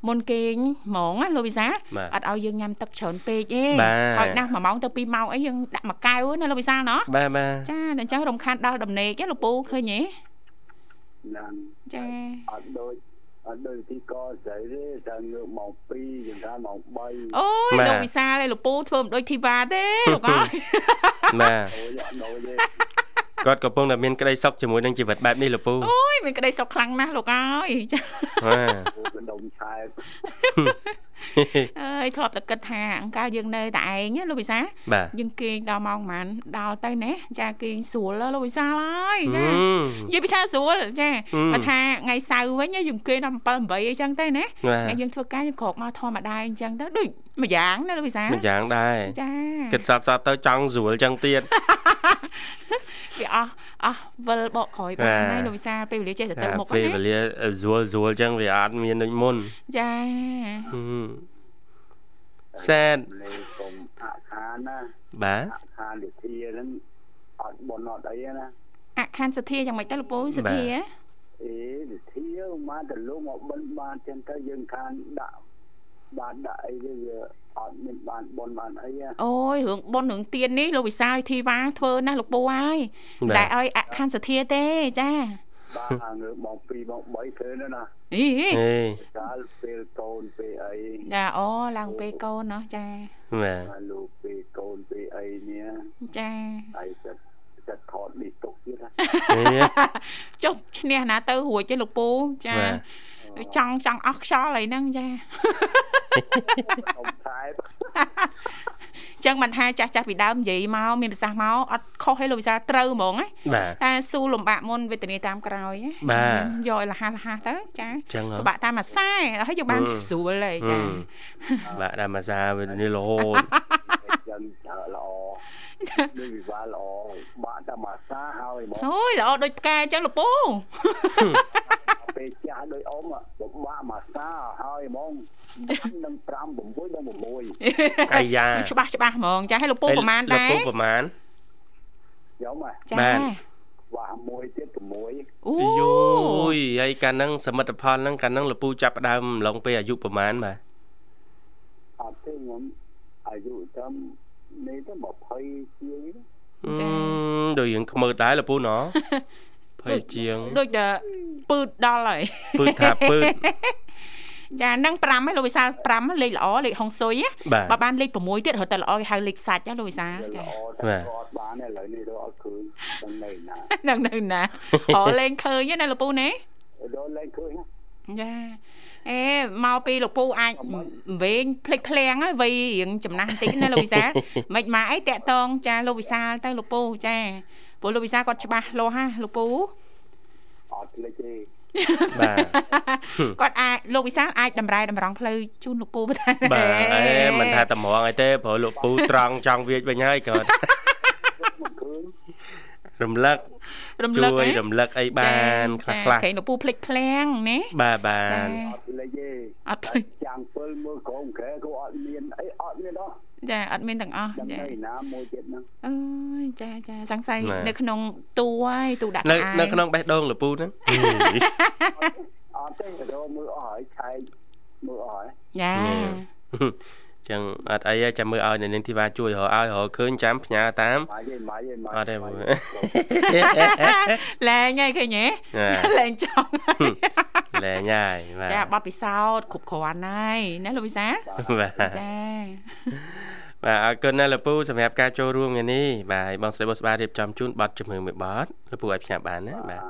Speaker 2: មុនគេងហ្មងណាលោកវិសាល
Speaker 1: បាទ
Speaker 2: អត់ឲ្យយើងញ៉ាំទឹកច្រើនពេកទេ
Speaker 1: បាទ
Speaker 2: ហើយណាស់1ម៉ោងទៅ2ម៉ោងអីយើងដាក់មួយកែវណាលោកវិសាលណោះ
Speaker 1: បាទបាទ
Speaker 2: ចាដល់អញ្ចឹងរំខានដល់ដំណេកណាលោកពូឃើញទេ
Speaker 5: នឹង
Speaker 2: ចា
Speaker 5: អត់ដូចអត់ដូចទីកោស្រីទេតែងើបម៉ោង2ចន្ទាម៉ោង3
Speaker 2: អូយ
Speaker 1: បាទ
Speaker 2: លោកវិសាលឯងលោកពូធ្វើមិនដូចធីវ៉ា ទេលោកអើយ
Speaker 1: បាទ
Speaker 5: អូយអត់ដូចទេ
Speaker 1: គាត់កំពុងតែមានក្តីសុខជាមួយនឹងជីវិតបែបនេះលកពូ
Speaker 2: អូយមានក្តីសុខខ្លាំងណាស់លោកអើយចា
Speaker 1: បាទ
Speaker 5: អូកណ្ដុំឆែក
Speaker 2: អើយធ្លាប់តែគិតថាអង្កលយើងនៅតែឯងណាលោកវិសាល
Speaker 1: បាទ
Speaker 2: យើងគេងដល់ម៉ោងប៉ុន្មានដល់ទៅណាចាគេងស្រួលហើយលោកវិសាលអើយ
Speaker 1: ហឹ
Speaker 2: ចា
Speaker 1: ម
Speaker 2: និយាយពីថាស្រួលចា
Speaker 1: ហឹម
Speaker 2: បើថាថ្ងៃសៅរ៍វិញយើងគេដល់7 8អីចឹងទៅណា
Speaker 1: បាទ
Speaker 2: ថ្ងៃយើងធ្វើការយើងក្រោកមកធម្មតាអីចឹងទៅដូចមួយយ៉ាងណាលោកវិសាល
Speaker 1: មិនយ៉ាងដែរ
Speaker 2: ចា
Speaker 1: គិតសបសបទៅចង់ស្រួលចឹងទៀត
Speaker 2: វាអស់អស់វិលបកក្រោយបាន
Speaker 1: បាទ
Speaker 2: ហើយលោកវិសាលពេលវេលាចេះតែទៅ
Speaker 1: តែ
Speaker 2: មុខ
Speaker 1: ពេលវេ
Speaker 2: ណា
Speaker 1: លាស្រួលស្រួលចឹងវាអត់មានដូចមុន
Speaker 2: ចា
Speaker 1: ហឹមសែន
Speaker 5: លេខកុំអខានណា
Speaker 1: បាទ
Speaker 5: អខានវិធាហ្នឹងអត់បនអត់អីណា
Speaker 2: អខានសទ្ធាយ៉ាងម៉េចទៅលោកពូសទ្ធា
Speaker 5: អេវិធាមកទៅលោកមកបិណ្ឌបានចឹងទៅយើងខានដាក់បានដាក់អីទេវាអត់មានបានបនបានអីណា
Speaker 2: អូយរឿងប៉ុនរឿងទៀននេះលោកវិសាលធីវ៉ាធ្វើណាស់លោកពូហើយ
Speaker 1: បា
Speaker 2: តែ
Speaker 1: ទ
Speaker 2: ឲ្យអខានសទ្ធាទេចា
Speaker 5: បាទអាងើបម៉ោង2ម៉ោង3ធ្វើណាណា
Speaker 2: អី
Speaker 1: អេ
Speaker 5: កាលពេលកូនពេលអី
Speaker 2: ចាអូឡើងពេលកូនណោះចា
Speaker 1: បាទ
Speaker 5: អាលោកពេលកូនពេលអីនេះ
Speaker 2: ចា
Speaker 5: ហើយចិត្តចិត្តថតនេះទុកទៀតណា
Speaker 1: អេ
Speaker 2: ចុះឈ្នះណាទៅរួចទេលោកពូចា
Speaker 1: បាទ
Speaker 2: ចង់ចង់អស់ខ្យល់អីហ្នឹងចាអ
Speaker 5: ខ្ញុំខែប
Speaker 2: ញ្ចឹងមិនថាចាស់ចាស់ពីដើមនិយាយមកមានប្រសាសន៍មកអត់ខុសទេលោកវិសាលត្រូវហ្មងណា
Speaker 1: បាទ
Speaker 2: តែស៊ូលំបាកមុនវេទនាតាមក្រោយណា
Speaker 1: បាទ
Speaker 2: យកឲ្យលះហាលះហាទៅចា
Speaker 1: ចឹងហ៎
Speaker 2: ពិបាកតាមអាខ្សែហើយយកបាន
Speaker 1: អឺ
Speaker 2: ស្រួលហើយ
Speaker 1: ហឹ
Speaker 2: ចា
Speaker 1: មបាទតាមភាសាវេទនារហូត
Speaker 5: ចឹងដើរល្អដូចវិវាលល្អបាក់តែមកសាហើយបង
Speaker 2: អូយល្អដូចផ្កាអញ្ចឹងលោកពូ
Speaker 5: ពេលចាស់ដោយអ៊ំបបាក់មកសាហើយហ្មង5និង5 6និង6
Speaker 1: អាយ៉ា
Speaker 2: ច្បាស់ច្បាស់ហ្មងចាឲ្យលោកពូប្រហែល
Speaker 1: ល
Speaker 2: ដែរ
Speaker 1: កពូប្រហែល
Speaker 5: ខ្ញុំហ៎
Speaker 2: ចា
Speaker 1: បាទ
Speaker 5: ខ្វះមួយទៀត6
Speaker 2: អូ
Speaker 1: យូយហើយកាលហ្នឹងសមិទ្ធផលហ្នឹងកាលហ្នឹងលពូចាប់ផ្ដើមឡងពេលអាយុប្រហែលបាទ
Speaker 5: អត់ទេខ្ញុំអាយុតាមនេះទៅ20ជាង
Speaker 1: អឺ
Speaker 5: ទេ
Speaker 1: ដូចយើងខ្មើដែរលពូណោះភ័យជាង
Speaker 2: ដូចតែពឺតដល់ហើយ
Speaker 1: ពឺតថាពឺត
Speaker 2: ចានឹង5ហើយលោកវិសាល5លេខល្អលេខហុងស៊ុយណា
Speaker 1: បាទ
Speaker 2: បើបានលេខ6ទៀតរហូតតែល្អគេហៅលេខសាច់ណាលោកវិសាល
Speaker 5: វា
Speaker 2: ចា
Speaker 5: ល្អ
Speaker 1: បាទ
Speaker 5: តែគាត់បានឥឡូវនេះរកអត់ឃើញដល់
Speaker 2: នឹង
Speaker 5: ណេណា
Speaker 2: នៅណា អូលេងឃើញទេណាលោកពូណា
Speaker 5: រកលែងឃើញ
Speaker 2: ចា អេមកពីលោកពូអាចវិញភ្លេចភ្លាំងហើយវ័យរៀងចំណាស់បន្តិចណាលោកវិសា ល មិនមកអីតាក់តងចាលោកវិសាលទៅលោកពូចាព្រោះលោកវិសាលគាត់ច្បាស់លាស់ណាលោក ពូ
Speaker 5: អត់ភ្លេចទេ
Speaker 1: បាទ
Speaker 2: គាត់អាចលោកវិសាលអាចតម្រែតម្រង់ផ្លូវជូនលោកពូបាន
Speaker 1: បាទអេមិនថាតម្រងអីទេព្រោះលោកពូត្រង់ចង់វាចវិញហើយ គាត់
Speaker 5: មិនឃើញ
Speaker 1: រំលឹករ
Speaker 2: ំលឹក
Speaker 1: ជួយ
Speaker 2: អី
Speaker 1: រំលឹកអីបានខ្លះ
Speaker 2: ចា
Speaker 1: ខ្លះ
Speaker 2: ឃើញលោកពូភ្លេចភ្លាំងណា
Speaker 1: បាទបាទ
Speaker 2: ចា
Speaker 5: អត់ភ្លេច
Speaker 2: អត់ភ្លេច
Speaker 5: ទេចាំងពិលមើលក្រុមក្រែក៏អត់មានអីអត់មានអស់
Speaker 2: ចាអត់មានទាំងអស់
Speaker 5: ចាំ
Speaker 2: ចា
Speaker 5: តែណាមួយទៀតហ្នឹង
Speaker 2: អើយចាចាសង្ស័យនៅក្នុងទូហើយទូដាក់
Speaker 1: នៅ
Speaker 2: ក្អាយ
Speaker 1: នៅក្នុងបេះដូងលោកពូហ្នឹង
Speaker 5: អត់ទេរកមើលអស់ហើយឆែកមើលអស់ហើយ
Speaker 2: ចា
Speaker 1: ចឹងអត់អីទេចាំមើលឲ្យនៅនាងធីវ៉ាជួយរកឲ្យរកឃើញចាំផ្ញើតាម
Speaker 5: ម៉េចទេម៉េចទេម៉េច
Speaker 1: អត់ទេបង
Speaker 5: ម៉េច
Speaker 2: លែងហើយឃើញទេ លែងចង់ហើយ
Speaker 1: លែងហើយបា
Speaker 2: ចា
Speaker 1: ទ
Speaker 2: បတ်ពិសោធន៍គ្រប់គ្រាន់ហើយណាលោកវិសាល
Speaker 1: បាទ
Speaker 2: ចា
Speaker 1: បាទអរគុណណាស់លោកពូសម្រាប់ការចូលរួមថ្ងៃនេះបាទហើយបងស្រីបងស្បារៀបចំជូនប័ណ្ណជំនឿមួយប័ណ្ណលោកពូឲ្យផ្ញើបានណាបាទ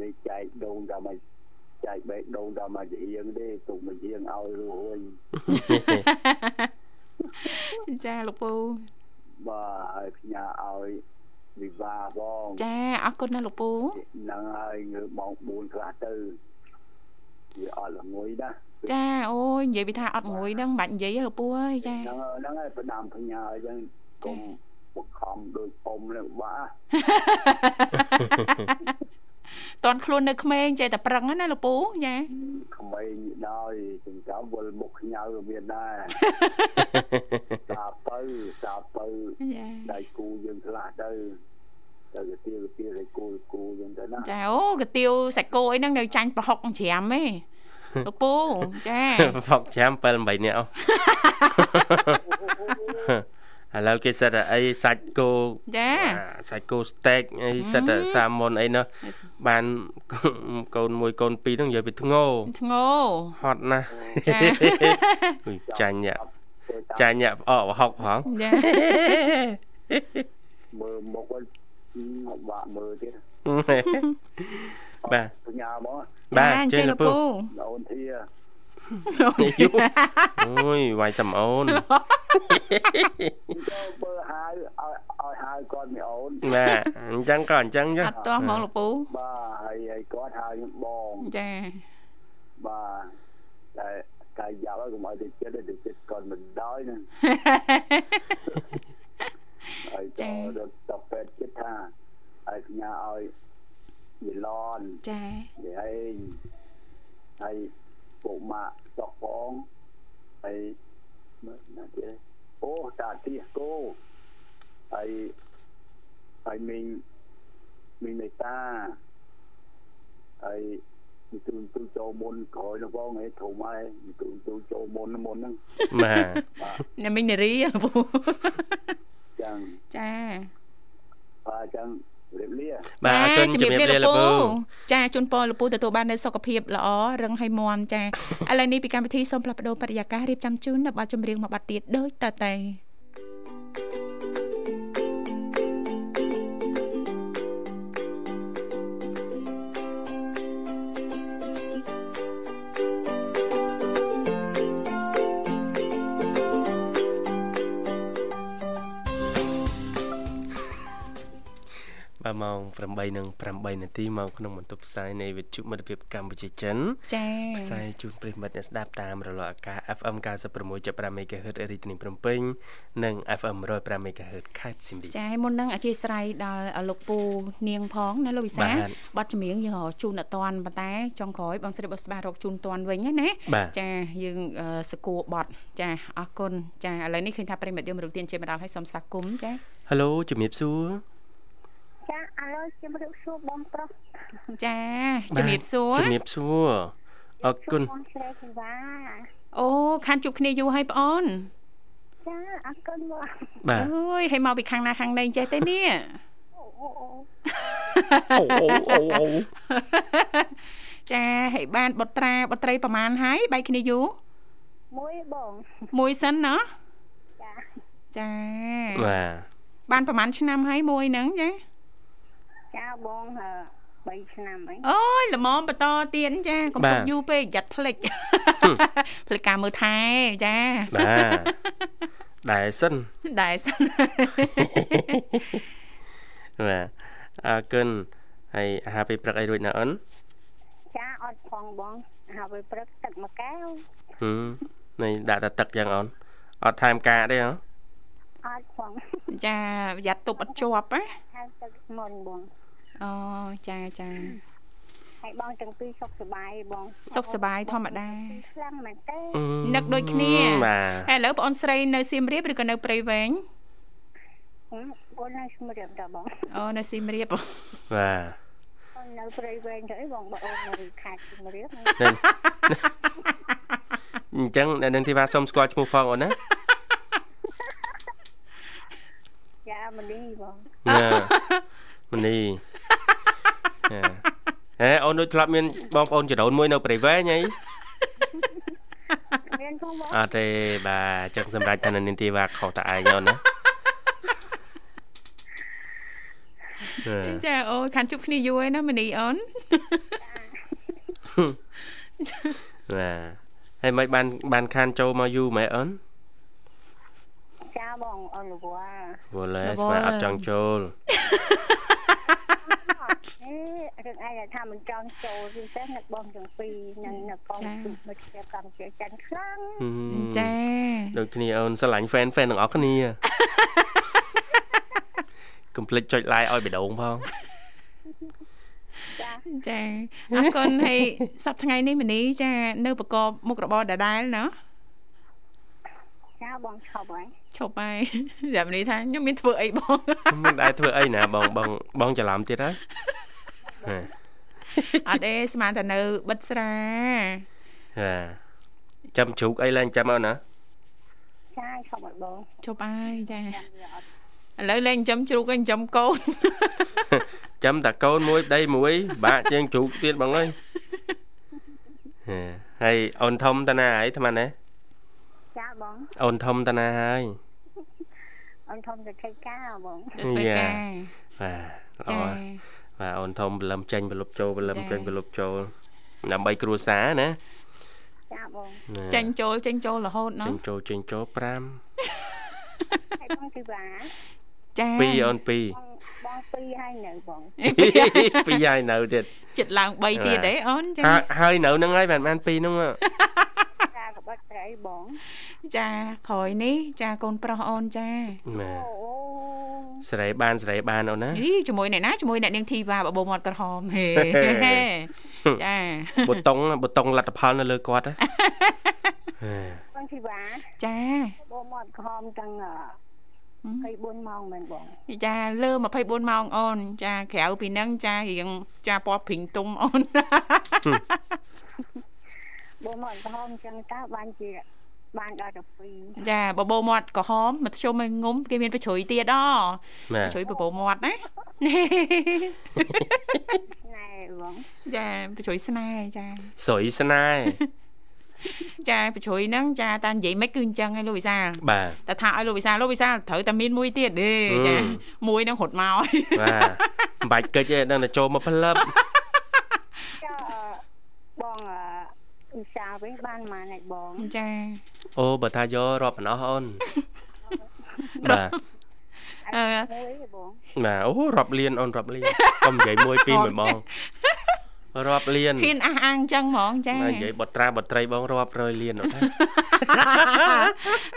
Speaker 5: នេះចែកដូងដល់មកចែកបេះដូងដល់មកជាងទេទុកមកជាងឲ្យរួយ
Speaker 2: ចាលោកពូ
Speaker 5: បាទហើយផ្ញើឲ្យវិវាផង
Speaker 2: ចាអរគុណណាស់លោកពូ
Speaker 5: ហ្នឹងហើយងើបម៉ោង4ខ្លះទៅវាអត់ល្ងួយណាស់
Speaker 2: ចាអូយនិយាយពីថាអត់ងួយហ្នឹងមិនបាច់និយាយទេលោកពូអើយចា
Speaker 5: ហ្នឹងហើយហ្នឹងហើយប្រដាំផ្ញើអញ្ចឹង
Speaker 2: ចា៎
Speaker 5: គុំបង្ខំដោយអ៊ំនឹងបា
Speaker 2: តន់ខ្លួននៅក្មេងចេះតែប្រឹងហ្នឹងណាលោកពូចា
Speaker 5: ក្មេងដល់ចិញ្ចើមវល់មុខខ្ញៅក៏មានដែរ តាបើតាបើ
Speaker 2: ចា
Speaker 5: ដៃគូយើងខ្លះទៅទៅទៅទៀតទៅទៀតដៃគូគូយើងទៅណា
Speaker 2: ចាអូកាទៀវសាច់គោអីហ្នឹងនៅចាញ់ប្រហុកច្រាមទេលោកពូចា
Speaker 1: ហ្វុកចាំ7 8នាក់អ ស់ឥឡូវគេសិតតែអីសាច់គោ
Speaker 2: ចា
Speaker 1: បាទសាច់គោស្តេកអីសិតតែសាម៉ុនអីនោះបានកូនមួយកូនពីរ ហ្នឹងនិយាយពីធ្ងោ
Speaker 2: ធ្ងោ
Speaker 1: ហត់ណាស់
Speaker 2: ចា
Speaker 1: អុយចាញ់ញ៉ាក់
Speaker 5: ទៅតាម
Speaker 1: ចាញ់ញ៉ាក់ផ្អកប្រហុកផង
Speaker 2: ចា
Speaker 5: មើលមុខហ្នឹងបាក់មើលទៀត
Speaker 1: បាទ
Speaker 5: ផ្ញើមក
Speaker 1: បាទជើងលកពូ
Speaker 5: អូនធា
Speaker 1: យូអូយវាយចាំអូ ន
Speaker 5: ចូលបើហៅឲ្យឲ្យហៅគាត់មិនអូន
Speaker 1: បាទអញ្ចឹងក៏អញ្ចឹងចុះ
Speaker 2: អត់ទាស់ហ្មងលោកពូ
Speaker 5: បាទហើយហើយគាត់ហៅខ្ញុំបង
Speaker 2: ចា
Speaker 5: បាទតែតែយ៉ាប់ហើយកុំឲ្យទៅចិត្តទេទៅចិត្តគាត់មិនដោយណាហើយចូលរត់ទៅពេទ្យចិត្តថាឲ្យផ្ញើឲ្យវិឡន
Speaker 2: ចា
Speaker 5: និយាយហើយពុកម៉ាក់ចុកផងហើយមើលណាទៀតអូតាទីគោហើយហើយមីងមីងមេតាហើយមីទូនទូចូលមុនក្រោយនោះផងហេធំហើយមីទូនទូចូលមុនមុនហ្នឹង
Speaker 1: បាទ
Speaker 2: អ្នកមីងនារីលោកពូ
Speaker 5: ចឹង
Speaker 2: ចា
Speaker 5: បាទចឹងរៀបលា
Speaker 1: បាទអរគុណជំរាបលាលកពូ
Speaker 2: ចាជូនពរលោកពូទទួលបាននូវសុខភាពល្អរឹងហើយមាំចាឥឡូវនេះពីកម្មវិធីសូមផ្លាស់ប្ដូរបរិយាកាសរៀបចំជូននៅប័ណ្ណចម្រៀងមួយប័ណ្ណទៀតដូចតទៅ
Speaker 1: បាទម៉ោង8:08នាទីមកក្នុងបន្ទប់ផ្សាយនៃវិទ្យុមិត្តភាពកម្ពុជាចិន
Speaker 2: ចា
Speaker 1: ផ្សាយជូនប្រិយមិត្តអ្នកស្ដាប់តាមរលកអាកាស FM 96.5 MHz រាជធានីភ្នំពេញនិង FM 105 MHz ខេត្តសៀមរាប
Speaker 2: ចាមុននឹងអធិស្ឋានដល់លោកពូនាងផងណាលោកវិសា
Speaker 1: បាទ
Speaker 2: ប័ណ្ណចម្រៀងយើងរកជូនអត់តាន់ប៉ុន្តែចុងក្រោយបងស្រីបងស្បារកជូនតាន់វិញណាណា
Speaker 1: បាទ
Speaker 2: ចាយើងអឺសគួរបត់ចាអរគុណចាឥឡូវនេះឃើញថាប្រិមិត្តយើងមករំទានជាម្ដងហើយសូមស្វាគមន៍ចា
Speaker 1: Halo ជំរាបសួរ
Speaker 4: ចាឥឡូវជំរាបសួរបងប្រុស
Speaker 2: ចាជំរាបសួរ
Speaker 1: ជំរាបសួរអរគុណ
Speaker 4: បងស្រីជីវ៉ា
Speaker 2: អូខានជួបគ្នាយូរហើយប្អូន
Speaker 4: ចាអរគុណបង
Speaker 1: បាទ
Speaker 2: អូយហើយមកពីខាងណាខាងណីអញ្ចេះទេនេះ
Speaker 1: អូអូអូអូ
Speaker 2: ចាហើយបានបុត្រាបុត្រីប្រមាណហើយបែកគ្នាយូរ
Speaker 4: មួយបង
Speaker 2: មួយសិនណោះ
Speaker 4: ចា
Speaker 2: ចា
Speaker 1: បាទ
Speaker 2: បានប្រមាណឆ្នាំហើយមួយហ្នឹងចា
Speaker 4: ចាបង 3ឆ្នាំហើយ
Speaker 2: អូយល្មមបន្តទៀតចាកុំ
Speaker 1: បា
Speaker 2: ទុ
Speaker 1: ទ
Speaker 2: កយូរពេកយ៉ាត់ផ្លិច ផ្លិចការមើលថែចា
Speaker 1: បាទដែរ សិន
Speaker 2: ដែរសិន
Speaker 1: បាទអរគុណហើយអាហារពេលព្រឹកអីរួចណាអូន
Speaker 4: ចាអត់ផងបងហើយពេលព្រឹកទឹកមួយកែវ
Speaker 1: ហឹមនេះដាក់តែទឹកយ៉ាងអូនអត់ថែមការទេហ៎
Speaker 4: អត់ ផង
Speaker 2: ចាប្រយ័ត្នទប់អត់ជាប់ណា
Speaker 4: ហើយទឹកមុនបង
Speaker 2: អូចាចា
Speaker 4: ហើយបងទាំងពីរសុខសប្បាយទេបង
Speaker 2: សុខសប្បាយធម្មតា
Speaker 4: ខ្លាំងមែនទេ
Speaker 1: អឺ
Speaker 2: នឹកដូចគ្នា
Speaker 1: បាទ
Speaker 2: ហើយឥឡូវបងអូនស្រីនៅសៀមរាបឬក៏នៅព្រៃវែង
Speaker 4: ហឹមអូននៅស្មរៀបតើបង
Speaker 2: អូនៅសៀមរាប
Speaker 1: បាទ
Speaker 4: អូននៅព្រៃវែងទៅអីបងបងអូននៅខេត្តស្មរៀប
Speaker 1: នេះអញ្ចឹងអ្នកនាងធីវ៉ាសូមស្គាល់ឈ្មោះផងអូនណា
Speaker 4: ចាមលីបង
Speaker 1: ណាមនីណាហេអូនដូចធ្លាប់មានបងប្អូនចរូនមួយនៅព្រៃវែងអី
Speaker 4: មានផងបង
Speaker 1: អត់ទេបាទចឹងសម្រាប់ថានៅនាងទីវ៉ាខុសតឯងអូនណាអឺ
Speaker 2: ចាអូខានជួបគ្នាយូរហើយណាមនីអូន
Speaker 1: បាទហើយមិនបានបានខានចូលមកយូរមែនអូន
Speaker 4: ចាបងអូនរវល់
Speaker 1: វល់ហើយស្មានអត់ចង់ចូល
Speaker 4: អត់ទេរឿងឯងដែលថាមិនចង់ចូលពិសេសនៅបងទាំងពីរនិងនៅបងពីមិត្តភាពកម្ពុជាចិនខ្លាំង
Speaker 1: ហឹម
Speaker 2: ចា
Speaker 1: ដូចគ្នាអូនស្រឡាញ់ fan fan ទាំងអស់ គ្នាកុំភ្លេចចុច like ឲ្យបេដងផង
Speaker 2: ចាអរគុណហើយ សប្តាហ៍ថ្ងៃនេះមនីចានៅប្រកបមុខរបរដដែលណា
Speaker 4: ចាបងឈប់ហើយ
Speaker 2: ឈប់ហើយ សម្រាប់មនីថាខ្ញុំមានធ្វើអីបង
Speaker 1: មិនដែរធ្វើអីណាបងបងបងច្រឡំទៀតហើយហ៎
Speaker 2: អត់ទេស្មានតែនៅបិទស្រា
Speaker 1: បាទចាំជ្រូកអីឡើងចាំអូនណា
Speaker 4: ចាឈប់ហើយបង
Speaker 2: ឈប់ហើយចាឥឡូវលេងចំជ្រូកហើយចំកូន
Speaker 1: ចាំតាកូនមួយប្តីមួយ បាក់ជាងជ្រូកទៀតបង អើយហេហើយអូនធំតាណាហើយអាត្មាណា
Speaker 4: ចាបង
Speaker 1: អូនធំតាណាហើយ
Speaker 4: អូនធំទៅធ្វើការហ៎បង
Speaker 2: ទៅធ្វើ
Speaker 1: យ៉ា
Speaker 2: ការ
Speaker 1: បាទ
Speaker 2: ចា
Speaker 1: ល្អបាទអូនធំព្រលឹមចេញព្រលប់ចូលព្រលឹមចេញព្រលប់ចូលដើម្បីគ្រួសារណា
Speaker 4: ចាបង
Speaker 1: ណា
Speaker 2: ចេញចូលចេញចូលរហូតណា
Speaker 1: ចេញចូលចេញចូល
Speaker 4: ហើយបងទីវ៉ា
Speaker 2: ចា
Speaker 1: 5 2អូន2
Speaker 4: បងបងពីរហើយនៅបង
Speaker 1: 2ហើយនៅទៀត
Speaker 2: ចិត្តឡើង3ទៀតទេអូនចា
Speaker 1: ហើយហើយនៅហ្នឹងហើយបានបាន2ហ្នឹងហ៎
Speaker 4: ចាកបិតស្រីបង
Speaker 2: ចាក្រោយនេះចាកូនប្រុសអូនចា
Speaker 1: ណា
Speaker 4: អូអូ
Speaker 1: សេរីបានសេរីបានអូនណា
Speaker 2: អីជាមួយអ្នកណាជាមួយអ្នកនាងធីវ៉ាបបោមាត់ក្រហមហេ ចា
Speaker 1: ប៊ូតុងប៊ូតុងលទ្ធផលនៅលើគាត់ណា ហេ
Speaker 4: បងទីវ៉ា
Speaker 2: ចា
Speaker 4: បងមកក្រហមទាំងអឺ24ម៉ោងមែនបង
Speaker 2: ចាលើ24ម៉ោងអូន ចាក្រៅពីហ្នឹងចារៀងចាពណ៌ព្រិងទុំអូន
Speaker 4: បងមកក្រហមចឹងតើបានជាបានដល់ទៅ2
Speaker 2: ចាបបោមាត់ក្រហមមធ្យមឲ្យងុំគេមានប្រជ្រុយទៀតអ
Speaker 1: ណា
Speaker 2: ប្រជ្រុយបបោមាត់ណា
Speaker 4: ណែបង
Speaker 2: ចាប្រជ្រុយស្នេហ៍ចា
Speaker 1: ស្រីស្នេហ៍
Speaker 2: ចាប្រជ្រុយហ្នឹងចាតានិយាយមិនគឺអញ្ចឹងឯងលោកវិសាល
Speaker 1: បាទ
Speaker 2: តែថាឲ្យលោកវិសាលលោកវិសាលត្រូវតែមានមួយទៀតទេចា
Speaker 1: អឺ
Speaker 2: មួយហ្នឹងរត់មកហើយ
Speaker 1: បាទមិនបាច់កិច្ចទេដឹងតែចូលមកផ្លឹប
Speaker 4: ចុះអឺបងអឺឧស្សាហ៍វិញបានប៉ុន្មានហើយបង
Speaker 2: ចា
Speaker 1: អូបើថាយករាប់មិនអស់អូន បាទ
Speaker 2: អឺ
Speaker 4: មួយទេបង
Speaker 1: បាទអូរាប់លានអូនរាប់ លានកុំនិយាយមួយពីរមួយបងរាប់លាន
Speaker 2: ហ៊ានអះអាងអញ្ចឹងហ្មងចា
Speaker 1: បាទនិយាយបត្រាបត្រីបងរាប់រយលានអូនណា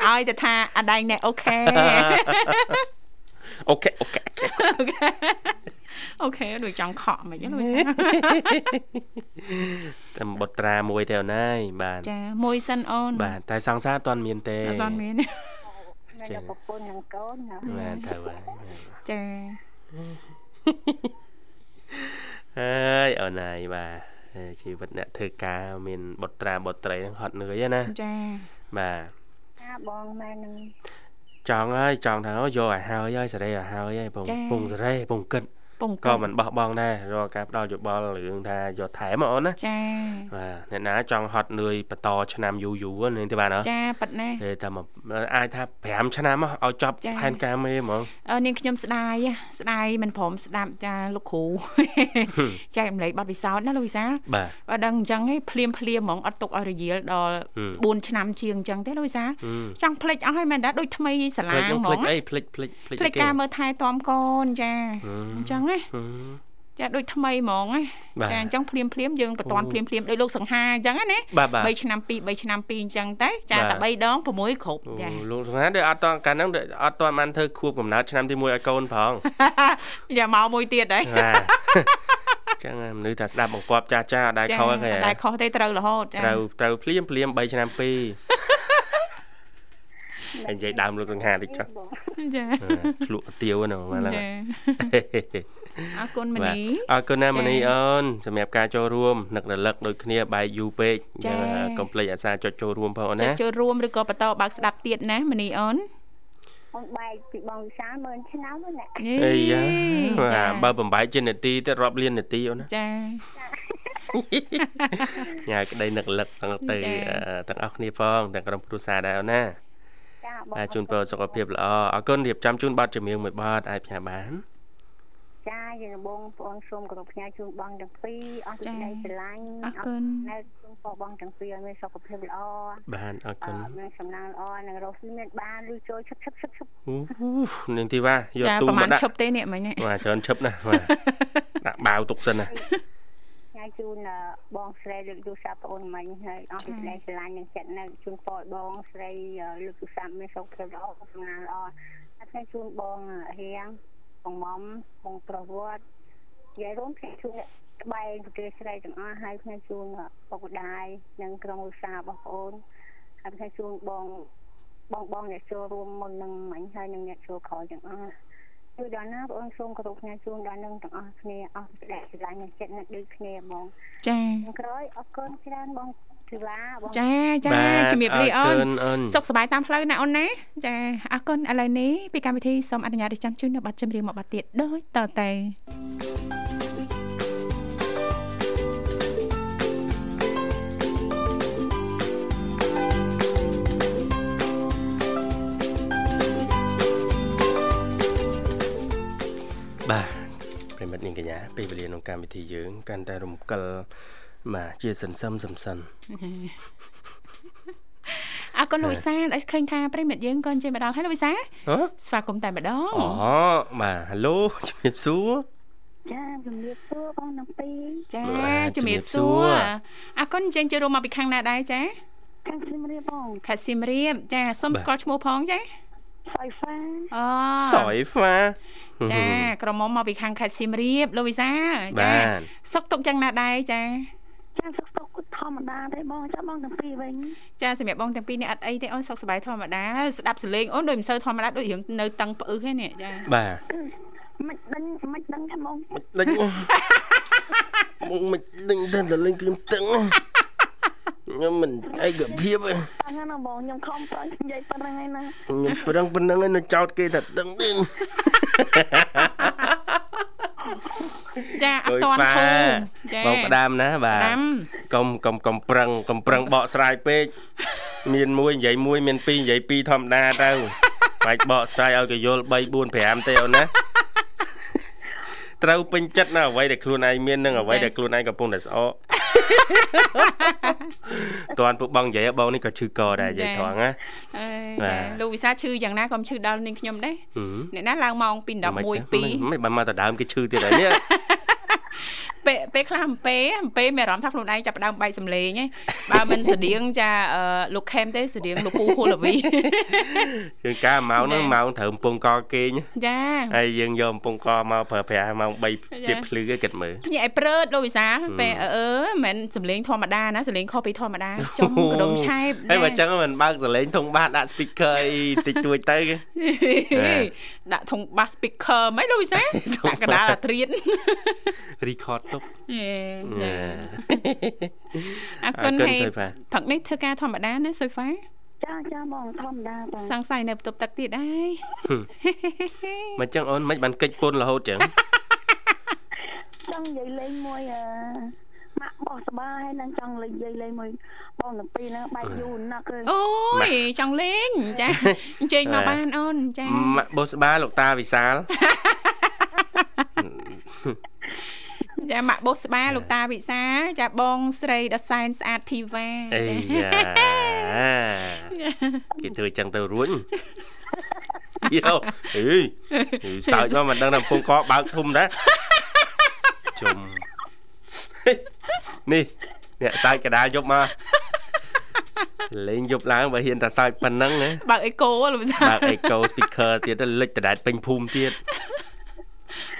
Speaker 2: ឲ្យទៅថាអដែងណែអូ ខេ
Speaker 1: អូខេអូខេ
Speaker 2: អូខេដូចចង់ខក់មិនអីលោកវិសាល
Speaker 1: តែបត្រាមួយទេអូនហើយបាទ
Speaker 2: ចាមួយសិនអូន
Speaker 1: បាទតែសង្សារអត់ទាន់មានទេ
Speaker 2: អត់ទាន់មាន
Speaker 4: មានតែប្រពន្ធនិងកូនណា
Speaker 1: បាទទៅហើយ
Speaker 2: ចា
Speaker 1: អើយអូនហើយបាទអឺជីវិតអ្នកធ្វើការមានបុត្រាបុត្រីហ្នឹងហត់នឿយហ្នឹងណា
Speaker 2: ចា
Speaker 1: បាទ
Speaker 4: ចាបងម៉ែនឹង
Speaker 1: ចង់ហើយចង់ថាអូយកឲ្យហើយហើយសេរីឲ្យហើយហើយពង
Speaker 2: ចា
Speaker 1: ពងសេរីពងគិត
Speaker 2: ពង
Speaker 1: ក៏មិនបោះបង់ដែររាល់ការផ្ដល់យោបល់រឿងថាយកថែមមកអូនណា
Speaker 2: ចា
Speaker 1: បាទអ្នកណាចង់ហត់នឿយបន្តឆ្នាំយូរយូរហ្នឹងទេបាទអ
Speaker 2: ចាប៉ាត់ណា
Speaker 1: េតែមកអាចថា5ឆ្នាំមកឲ្យចប់
Speaker 2: ចា៎
Speaker 1: ផែនការមេហ្មង
Speaker 2: អឺនាងខ្ញុំស្ដាយស្ដាយមិនព្រមស្ដាប់ចាលោក គ្រូ ចែករំលែកបទពិសោធន៍ណាលោកវិសាល
Speaker 1: បាទ
Speaker 2: បើដឹងអញ្ចឹងឯងភ្លាមភ្លាមហ្មងអត់ទុកឲ្យរយាលដល់
Speaker 1: ហឹម
Speaker 2: 4ឆ្នាំជាងអញ្ចឹងទេលោកវិសាល
Speaker 1: ហឹម
Speaker 2: ចង់ភ្លេចអស់ហើយមែនដែរដូចថ្មីសា
Speaker 1: ភ្លេ
Speaker 2: ឡា
Speaker 1: ច
Speaker 2: ហ្ម
Speaker 1: នឹង
Speaker 2: ង
Speaker 1: ភ្លេច
Speaker 2: ណា
Speaker 1: អីភ្លេចភ្លេច
Speaker 2: ភ្លេច
Speaker 1: អីគេ
Speaker 2: ការមើលថែទាំកូនចា
Speaker 1: ហឹម
Speaker 2: អញ្ចឹងណា
Speaker 1: ហឹម
Speaker 2: ចាដូចថ្មីហ្មងណា
Speaker 1: បាទ
Speaker 2: ចាអញ្ចឹងភ្លាមភ្លាមយើងបន្ត
Speaker 1: អូ
Speaker 2: ភ្លាមភ្លាមដោយលោកសង្ហាអញ្ចឹងណា
Speaker 1: បាទបាទ
Speaker 2: 3ឆ្នាំ2 3ឆ្នាំ2អញ្ចឹងតែចា
Speaker 1: បាទ
Speaker 2: តែ3ដង6គ្រប់
Speaker 1: អូ
Speaker 2: ចា
Speaker 1: លោកសង្ហាដូចអត់តកាលហ្នឹងដូចអត់តបានធ្វើខួបកំណើតឆ្នាំទី1ឲ្យកូនផង
Speaker 2: យ៉ាមកមួយទៀតហើយ
Speaker 1: បាទចឹងហើយមនុស្សថាស្ដាប់បង្គាប់ចាស់ចាស់អត់ដែរខុសអីគេ
Speaker 2: អត់ដែរខុសទេត្រូវរហូតចា
Speaker 1: ត្រូវត្រូវភ្លាមភ្លាម3ឆ្នាំ2ហើយនិយាយដើមលោកសង្ហាតិចចុះ
Speaker 2: ចា
Speaker 1: ឆ្លក់អាទាវហ្នឹងមកឡើង
Speaker 2: ចា អរគុណម
Speaker 1: បាទ
Speaker 2: នី
Speaker 1: អរគុណណា
Speaker 2: ចា៎
Speaker 1: មនីអូនសម្រាប់ការចូលរួមនឹករលឹកដូចគ្នាបែកយូរពេកចឹ
Speaker 2: ចា៎
Speaker 1: ងហើយកុំភ្លេចអាសាចុចចូលរួមផងអូន
Speaker 2: ចុ
Speaker 1: ណា
Speaker 2: ចចូលរួមឬក៏បន្តបើកស្ដាប់ទៀតណាមនីអូន
Speaker 4: បងបែកពីបងវិសាលមើលឆ្នាំហ្នឹងណា
Speaker 2: នេះ
Speaker 1: អីយ៉ា
Speaker 2: ចា
Speaker 1: បាទបើបំបែកជានាទីទៀតរាប់លាននាទី អូនណា
Speaker 2: ចា
Speaker 1: ញ៉ាក្តីនឹករលឹកទាំងទៅ
Speaker 2: ចា៎
Speaker 1: អឺទាំងអស់គ្នាផងទាំងក្រុមគ្រួសារដែរអូនណា
Speaker 4: ចាបង
Speaker 1: បាទជូនពរសុខភាពល្អអរគុណរៀបចំជូនប័ណ្ណចម្រៀងមួយប័ណ្ណអាចផ្ញើបាន
Speaker 4: ចាយើងបងប្អូនសូមគោរពផ្ញើជូនបងទាំងពីរអរគុណ
Speaker 2: ចា
Speaker 4: ដែលស្រឡាញ់
Speaker 2: អរគុណ
Speaker 4: នៅជូនពរបងទាំងពីរឲ្យមានសុខភាពល្អ
Speaker 1: បានអរគុណ
Speaker 4: អឺមានសំណាងល្អនិងរស់ស៊ីមានបានឬចូលឈប់ឈប់ឈប់ឈប់
Speaker 1: អូនាងធីវ៉ាយក
Speaker 2: ចា
Speaker 1: ទូ
Speaker 2: ប្រ
Speaker 1: ម
Speaker 2: ហែ
Speaker 1: ក
Speaker 2: ល
Speaker 1: ដាក់
Speaker 2: ឈប់ទេនេះមិញនេះ
Speaker 1: បាទច្រើនឈប់ណាស់ បាទដាក់បាវទុកសិនណា
Speaker 4: ផ្ញើជូនអឺបងស្រីលោកទូរសាប្អូនមិញហើយអរគុណដែលស្រឡាញ់និងចិត្តនៅជូនពរឲ្យបងស្រីអឺលោកទូរសាមានសុខភាពល្អសំណាងល្អហើយផ្ញើជូនបងអឺរៀងបងមុំបងប្រវត្តិយាយរួមផ្ញើជូនអ្នកក្បែរប្រទេសស្រីទាំងអស់ហើយផ្ញើជូនអឺពុកម្ដាយនិងក្រុមគ្រួសាររបស់ប្អូនហើយផ្ញើជូនបងបងបងៗអ្នកចូលរួមមុននឹងមិញហើយនិងអ្នកចូលក្រោយទាំងអស់ ជួយដល់ណាបងអូនសូមគោរពផ្ញើជូនដល់នឹងទាំងអស់គ្នាអស់សេចក្ដីស្រឡាញ់និងចិត្តនឹកដូចគ្នាបង
Speaker 2: ចា
Speaker 4: ខាងក្រោយអរគុណច្រើនបងធីវ៉ាបង
Speaker 2: ចាចាជំរាបលាអូ
Speaker 1: អរ
Speaker 2: ន
Speaker 1: គុណអូន
Speaker 2: សុខសប្បាយតាមផ្លូវណាអូនណាចាអរគុណឥឡូវនេះពីកម្មវិធីសូមអនុញ្ញាតចាំជូននៅប័ណ្ណចម្រៀងមួយប័ណ្ណទៀតដូចតទៅ
Speaker 6: បាទប្រិមិត្តនាងកញ្ញាពេលវេលាក្នុងកម្មវិធីយើងកាន់តែរំកិលបាទជាសន្សឹមសន្សិន
Speaker 2: អរគុណលោកវិសាលដែលឃើញថាប្រិមិត្តយើងក៏ជិះមកដល់ហើយលោកវិសាល
Speaker 1: ហ៎
Speaker 2: ស្វាគមន៍តែម្ដង
Speaker 1: អូបាទហេឡូ ជំរាបសួរ
Speaker 4: ចាជំរាបសួរបងទាំងពីរ
Speaker 2: ចា
Speaker 1: បាទ
Speaker 2: ជំរាបសួ
Speaker 1: ជំរាសួ
Speaker 2: រប
Speaker 1: រ
Speaker 2: អរគុណចេញចូលរួមមកពីខាងណាដែរចា
Speaker 4: ខាងជំរាបបង
Speaker 2: ខាត់ស៊ីមរៀបចាសូមស្គាល់ឈ្មោះផងចា
Speaker 4: សៃហ្វា
Speaker 2: អូ
Speaker 1: សយហ្វា
Speaker 2: ចាក្រមុំមកពីខាងខាត់ស៊ីមរៀបលោកវិសាលចា
Speaker 1: បាទ
Speaker 2: សុខទុក្ខយ៉ាងណាដែរចា
Speaker 4: ចាសុខសុខគឺធម្មតាទេបងចាបងទាំងពីរវិញ
Speaker 2: ចាសម្រាប់បងទាំងពីរនេះអត់អីទេអូនសុខសប្បាយធម្មតាស្ដាប់សលេងអូនដូចមិនសូវធម្មតាដូចរឿងនៅតឹងផ្អឹសហ្នឹងនេះចា
Speaker 1: បាទ
Speaker 4: មិនដឹងមិនដឹងថាបង
Speaker 1: ដេញមកមិនដេញតែលេងគៀមតឹងខ្ញុំមិនឯកភាពទេ
Speaker 4: តែហ្នឹងណាបងខ្ញុំខំប្រឹងនិយាយប៉ុណ្្នឹងឯណា
Speaker 1: ខ្ញុំប្រឹងប៉ុណ្ណឹងឯងនៅចោតគេថាដឹងទេ
Speaker 2: ចាអត់តន់ធូរចា
Speaker 1: បងផ្ដាំណាបាទ
Speaker 2: ផ្ដាំ
Speaker 1: កុំកុំកុំប្រឹងកុំប្រឹងបកស្រាយពេ កមានមួយនិយាយមួយមានពីរនិយាយពីរធម្មតា ទៅបាច់បកស្រាយឲ្យគេយល់3 4 5ទេអូ នណាត្រូវពេញចិត្តណាអ្វីដែលខ្លួនឯងមាននិងអ្វីដែលខ្លួនឯងកំពុងតែស្អ កតាន់ពួកបងនិយាយបងនេះក៏ឈឺកដែរនិយាយត្រង់ណា
Speaker 2: អេ
Speaker 1: បាទ
Speaker 2: ចាលោកវិសាឈឺយ៉ាងណាក៏មិនឈឺដល់នាងខ្ញុំដែរ
Speaker 1: ហឹម
Speaker 2: អ្នកណាឡើងម៉ោង2 11
Speaker 1: មិនបានមកតែដើមគេឈឺទៀត ហើយនេះ
Speaker 2: 2ពេលពេលខ្លះអំពេអំពេមានអារម្មណ៍ថាខ្លួនឯងចាប់ផ្ដើមបែកសម្លេងឯងបើមិន ស្តៀងចាអឺលោកខេមទេស្តៀងលោកពូហូលាវី
Speaker 1: យើងកាលម៉ោងហ្នឹង
Speaker 2: ណែ
Speaker 1: ម៉ោងត្រូវកំពុងកគេង
Speaker 2: ចា
Speaker 1: ហើយយើងយកកំពុងកមកប្រើប្រាស់ម៉ោង
Speaker 2: ចា
Speaker 1: 3ជាភ្លឺគេគិតមើល
Speaker 2: ភ្ញាក់ឲ្យព្រឺតលោកវិសាពេលអឺអឺមិនសំលេងធម្មតាណាសំលេងខុសពីធម្ម តាចំកដុំឆែប
Speaker 1: ហើយបើ
Speaker 2: ចា
Speaker 1: ចឹងមិនបើកសលេងធុងបាសដាក់ speaker អីតិចតួចទៅគេ
Speaker 2: ដាក់ធុងបាស speaker ហ្មងលោកវិ សាល ដាក់កណ្ដាលអាត្រៀ ត
Speaker 1: record ទុក
Speaker 2: យេ
Speaker 1: អឺ
Speaker 2: អរគុណ
Speaker 1: អរគុណ
Speaker 2: ហើយ
Speaker 1: សុយផា
Speaker 2: ផឹកនេះធ្វើការធម្មតាណាសុយហ្វា
Speaker 4: ចាចាបងធម្មតាបង
Speaker 2: សង្ស័យនៅបន្ទប់ទឹកទៀតដែរ
Speaker 1: មិនចឹងអូនមិនបានកិច្ចពុនរហូតចឹង
Speaker 4: ចង់និយាយលេងមួយអឺម៉ាក់បោះស្បាហើយនឹងចង់លេងនិយាយលេងមួយបងទាំងពីរហ្នឹងបែកយូរណាស់គឺ
Speaker 2: អូយចង់លេងចា អញ្ជើញមកបានអូនចា
Speaker 1: ម៉ាក់បូស្បាលោកតាវិសាល
Speaker 2: ចាម៉ាក់បុសស្បាលោកតាវិសាលចាបងស្រីដសែនស្អាតធីវ៉ា
Speaker 1: អេ
Speaker 2: ចា
Speaker 1: យ៉ា គេធ្វើចឹងទៅរួចយោអីសើចមកមិនដឹងថាកំពងកបើកធុំដែរជុំ នេះអ្នកសើចកដាលយប់មកលេងយប់ឡើងបើហ៊ានតែសើចប៉ុណ្ណឹងណា
Speaker 2: បើកអេកូលោកវិសាល
Speaker 1: បើក echo speaker ទៀតទៅលិចដដែលពេញភូមិទៀត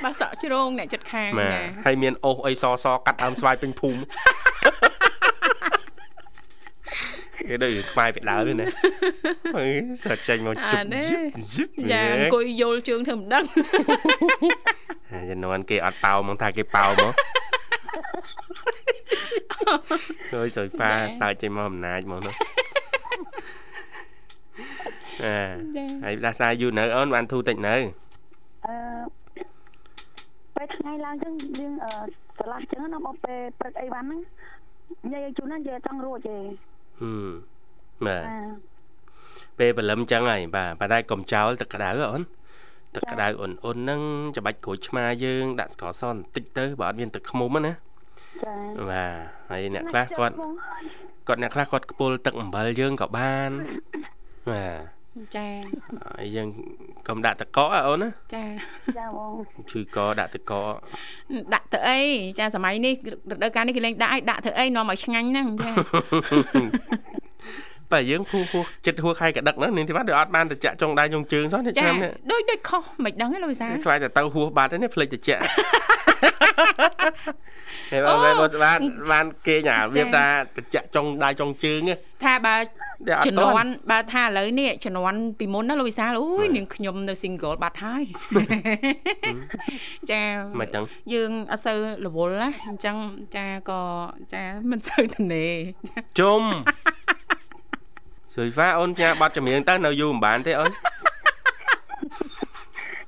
Speaker 2: បើកសក់ជ្រងអ្នកជិតខាង
Speaker 1: បាទ
Speaker 2: ចា
Speaker 1: ហើយមានអូសអីសសកាត់ដើមស្វាយពេញភូមិគេដូចស្វាយពីដើមហ្នឹងណាអើយសាច់ចាញ់មកជុបជុបជុប
Speaker 2: ចាអង្គុយយល់ជើងធ្វើមិន ដឹង
Speaker 1: ជំនាន់គេអត់ប៉ោមកថាគេប៉ោ មកជួយសុយប៉ាសើចចេញមកអំណាចមកនោះអើហើយផ្លាសាយូរនៅអូនបានធូរតិចនៅ
Speaker 4: អឺពេលថ្ងៃឡើងចឹងយើងអឺស្រឡះចឹងណាបងពេលព្រឹកអីវ៉ាន់ហ្នឹងនិយាយឲ្យជូនណានិយាយឲ្យចង់រួចទេ
Speaker 1: ហឹមបាទ
Speaker 4: អា
Speaker 1: ពេលព្រលឹមចឹងហើយបាទប៉ុន្តែកុំចោលទឹកក្តៅហ៎អូនទឹកក្តៅអ៊ុនអ៊ុនហ្នឹងច្របាច់ក្រូចឆ្មាយើងដាក់ស្ករសបន្តិចទៅបើអត់មានទឹកឃ្មុំហ្នឹងណា
Speaker 4: ចា
Speaker 1: បាទហើយអ្នកខ្លះគាត់គាត់អ្នកខ្លះគាត់ខ្ពុលទឹកអំបិលយើងក៏បានបាទ
Speaker 2: ចា
Speaker 1: ហើយយើងកុំដាក់ទឹកកកហ៎អូនណា
Speaker 2: ចា
Speaker 4: ចាបង
Speaker 1: ឈឺកដាក់ទឹកកក
Speaker 2: ដាក់ទៅអីចាសម័យនេះរដូវកាលនេះគេលេងដាក់ឲ្យដាក់ធ្វើអីនាំឲ្យឆ្ងាញ់ហ្នឹងចា
Speaker 1: បើយើងភូភូចិត្តហួខែកដឹកហ្នឹងនាងធីវ៉ាដូចអត់បានតិចចុងដៃចុងជើងសោះនេះ
Speaker 2: ចា
Speaker 1: ឆ្នាំនេះ
Speaker 2: ដូចដូចខុសមិនដឹងទេលោកវិសាល
Speaker 1: គេខ្លាចតែទៅហួសបាត់ហ្នឹងនេះភ្លេចតិច តែបង
Speaker 2: អូ
Speaker 1: មែនបងស្បាតបានគេញ៉ា
Speaker 2: ចា៎
Speaker 1: វាថាតិចចុងដៃចុងជើងហ្នឹង
Speaker 2: ថាបើ
Speaker 1: តែអត់
Speaker 2: ជំ
Speaker 1: ត
Speaker 2: នា
Speaker 1: ន់
Speaker 2: ន់បើថាឥឡូវនេះជំនាន់ពីមុនណាលោកវិសាលអូយនាងខ្ញុំនៅ single បាត់ហើយ ចា
Speaker 1: មិនចឹង
Speaker 2: យើងអត់សូវរវល់ណាអញ្ចឹងចាក៏ចាមិនសូវទៅនេ
Speaker 1: ជុំ សុយហ្វាអូនផ្ញើប័ណ្ណចម្រៀងទៅនៅយូរមិនបានទេអូន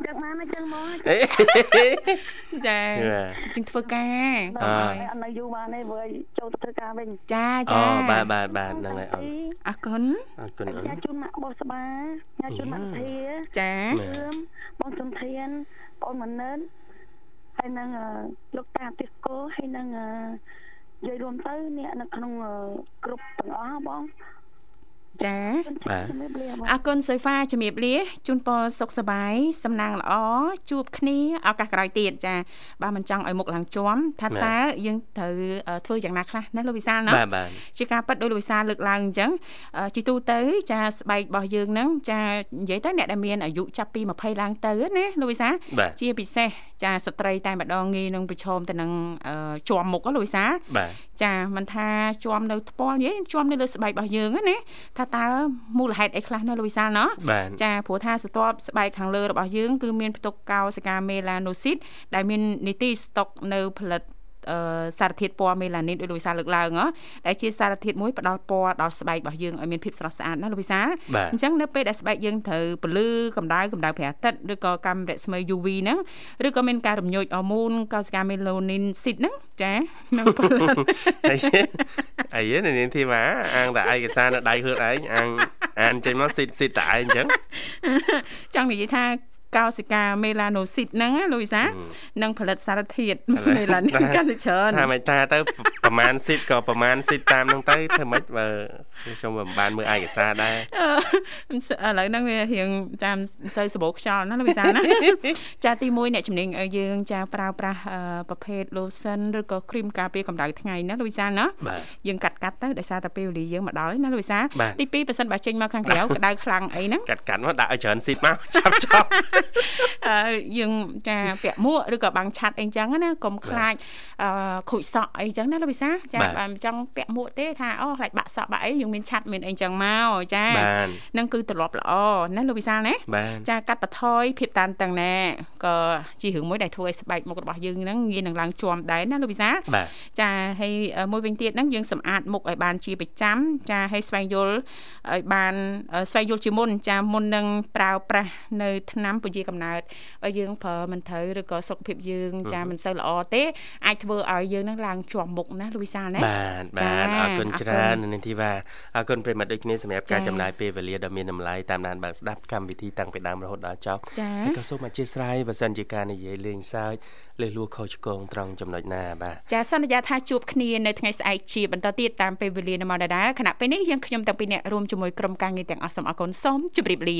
Speaker 4: ចឹងបានណាចឹងមក
Speaker 1: អេ ចា
Speaker 2: ចាជាងធ្វើការ
Speaker 1: អ่า
Speaker 4: អត់នៅយូរបានទេព្រោះចូលទៅធ្វើការវិញ
Speaker 2: ចា
Speaker 1: អូ
Speaker 2: ចា
Speaker 1: បាទបាទបាទហ្នឹងហើយអូន
Speaker 2: អរគុណ
Speaker 1: អរគុណអូន
Speaker 4: ញ៉ាជូនម៉ាក់បោះស្បាញ៉ាជូនម៉ាក់ធា
Speaker 2: ចា
Speaker 1: បាទ
Speaker 4: ធឿមបងសំធានបងមនិនហើយនឹងអឺលោកតាទេសកោហើយនឹងអឺនិយាយរួមទៅអ្នកនៅក្នុងអឺក្រុមទាំងអស់បង
Speaker 2: ចា
Speaker 1: បាទ
Speaker 4: ជំរាបលាបង
Speaker 2: អរគុណសុយហ្វាជំរាបលាជូនពរសុខសប្បាយសំណាងល្អជួបគ្នាឱកាសក្រោយទៀតចាបាទមិនចង់ឲ្យមុខឡើងជွំថាតើយើងត្រូវអឺធ្វើយ៉ាងណាខ្លះណាលោកវិសាលណា
Speaker 1: បាទបាទ
Speaker 2: ជាការប៉ັດដោយលោកវិសាលលើកឡើងអញ្ចឹងអឺជីទូទៅចាស្បែករបស់យើងហ្នឹងចានិយាយទៅអ្នកដែលមានអាយុចាប់ពី20ឡើងទៅណាលោកវិសាល
Speaker 1: បាទ
Speaker 2: ជាពិសេសចាស្ត្រីតែម្ដងងាយនឹងប្រឈមទៅនឹងអឺជាប់មុខហ៎លោកវិសាល
Speaker 1: បាទ
Speaker 2: ចាមិនថាជាប់នៅថ្ពាល់និយាយជាប់នៅលើស្បែករបស់យើងហ្នឹងណាថាតើមូលហេតុអីខ្លះណាលោកវិសាលណា
Speaker 1: បាទ
Speaker 2: ចាព្រោះថាស្ទាប់ស្បែកខាងលើរបស់យើងគឺមានផ្ទុកកោសិកាមេឡាណូស៊ីតដែលមាននីតិស្តុកនៅផលិតអឺសារធាតុពណ៌មេឡានីនដោយលោកវិសាលលើកឡើងហ៎ដែលជាសារធាតុមួយផ្ដល់ពណ៌ដល់ស្បែករបស់យើងឲ្យមានភាពស្រស់ស្អាតណាលោកវិសាល
Speaker 1: បាទ
Speaker 2: អញ្ចឹងនៅពេលដែលស្បែកយើងត្រូវពលឺកម្ដៅកម្ដៅព្រះអាទិត្យឬក៏កាំរស្មី UV ហ្នឹងឬក៏មានការរំញោចអរម៉ូនកោសិកាមេឡានីនស៊ីតហ្នឹងចា នៅផលិត
Speaker 1: អីអីហ្នឹងនាងធីវ៉ាអាងតែឯកសារនៅដៃខ្លួនឯងអាងអានចេញមកស៊ីតស៊ីតតែឯងអញ្ចឹង
Speaker 2: ចង់និយាយថាកោសិកាមេឡាណូស៊ីតហ្នឹងណាលូវីសានឹងផលិតសារធាតុ
Speaker 1: ឥឡូវ
Speaker 2: មេឡានី
Speaker 1: ដែរ
Speaker 2: នកាន់តែ ច្រើន
Speaker 1: ថាមិនថាទៅប្រហែលស៊ីតក៏ប្រហែលស៊ីតតាមហ្នឹងទៅធ្វើម៉េចបើខ្ញុំមិនបានមើលឯកសារដែរ
Speaker 2: អឺឥឡូវហ្នឹងវារៀងចាំមិនសូវសបោខ្យល់ណាលូវីសា ណា ចាទី1អ្នកជំនាញឲ្យយើងចាប្រើប្រាស់អឺប្រភេទ lotion ឬក៏ cream ការពារកម្ដៅថ្ងៃណាលូវីសាណា
Speaker 1: បាទ
Speaker 2: យើងកាត់កាត់ទៅដោយសារតែពេលវេលាយើងមកដល់ហើយណាលូវីសា
Speaker 1: បាទ
Speaker 2: ទី2ប៉ះសិនបើចេញមកខាង ក្រៅក្ដៅខ្លាំងអីហ្នឹង
Speaker 1: កាត់កាន់មកដាក់ឲ្យច្រើនស៊ីតមក ចាប់ចាប់
Speaker 2: អឺយើងចាពាក់មួកឬក៏បាំងឆ័ត្រអីចឹងណាកុំខ្លាចអឺខូចសក់អីចឹងណាលោកវិសាចា
Speaker 1: បាទ
Speaker 2: បើមិនចង់ពាក់មួកទេថាអូខ្លាចបាក់សក់បាក់អីយើងមានឆ័ត្រមានអីចឹងមកចា
Speaker 1: បាន
Speaker 2: នឹងគឺទម្លាប់ល្អណាលោកវិសាណា
Speaker 1: បាន
Speaker 2: ចាកាត់បន្ថយភាពតានតឹងណាក៏ជារឿងមួយដែលធ្វើឲ្យស្បែកមុខរបស់យើងហ្នឹងងាយនឹងឡើងជួមដែរណាលោកវិសា
Speaker 1: បាទ
Speaker 2: ចាហើយអឺមួយវិញទៀតហ្នឹងយើងសម្អាតមុខឲ្យបានជាប្រចាំចាហើយស្វែងយល់ឲ្យបានអឺស្វែងយល់ជាមុនចាមុននឹងប្រើប្រាស់នៅថ្នាំព ជាកំណើតបើយើងប្រើមិនត្រូវឬក៏សុខភាពយើងចាមិនសូវល្អទេអាចធ្វើឲ្យយើងនឹងឡើងជាប់មុខណាលូយសាលណា
Speaker 1: បាទបាទអរគុណច្រើននៅនាងធីវ៉ាអរគុណប្រិយមិត្តដូចគ្នាសម្រាប់ការចំណាយពេលវេលាដ៏មានតម្លៃតាមដានបានស្ដាប់កម្មវិធីតាំងពីដើមរហូតដល់ចប់
Speaker 2: ចា៎
Speaker 1: ហើយក៏សូមអធិស្ឋានបើសិនជាការនិយាយលេងសើចលើសលួខុសឆ្គងត្រង់ចំណុចណាបាទ
Speaker 2: ចាសន្យាថាជួបគ្នានៅថ្ងៃស្អែកជាបន្តទៀតតាមពេលវេលានៅម៉ោងដដែលខណៈពេលនេះយើងខ្ញុំតាំងពីអ្នករួមជាមួយក្រុមការងារទាំងអស់សូមអរគុណសូមជម្រាបលា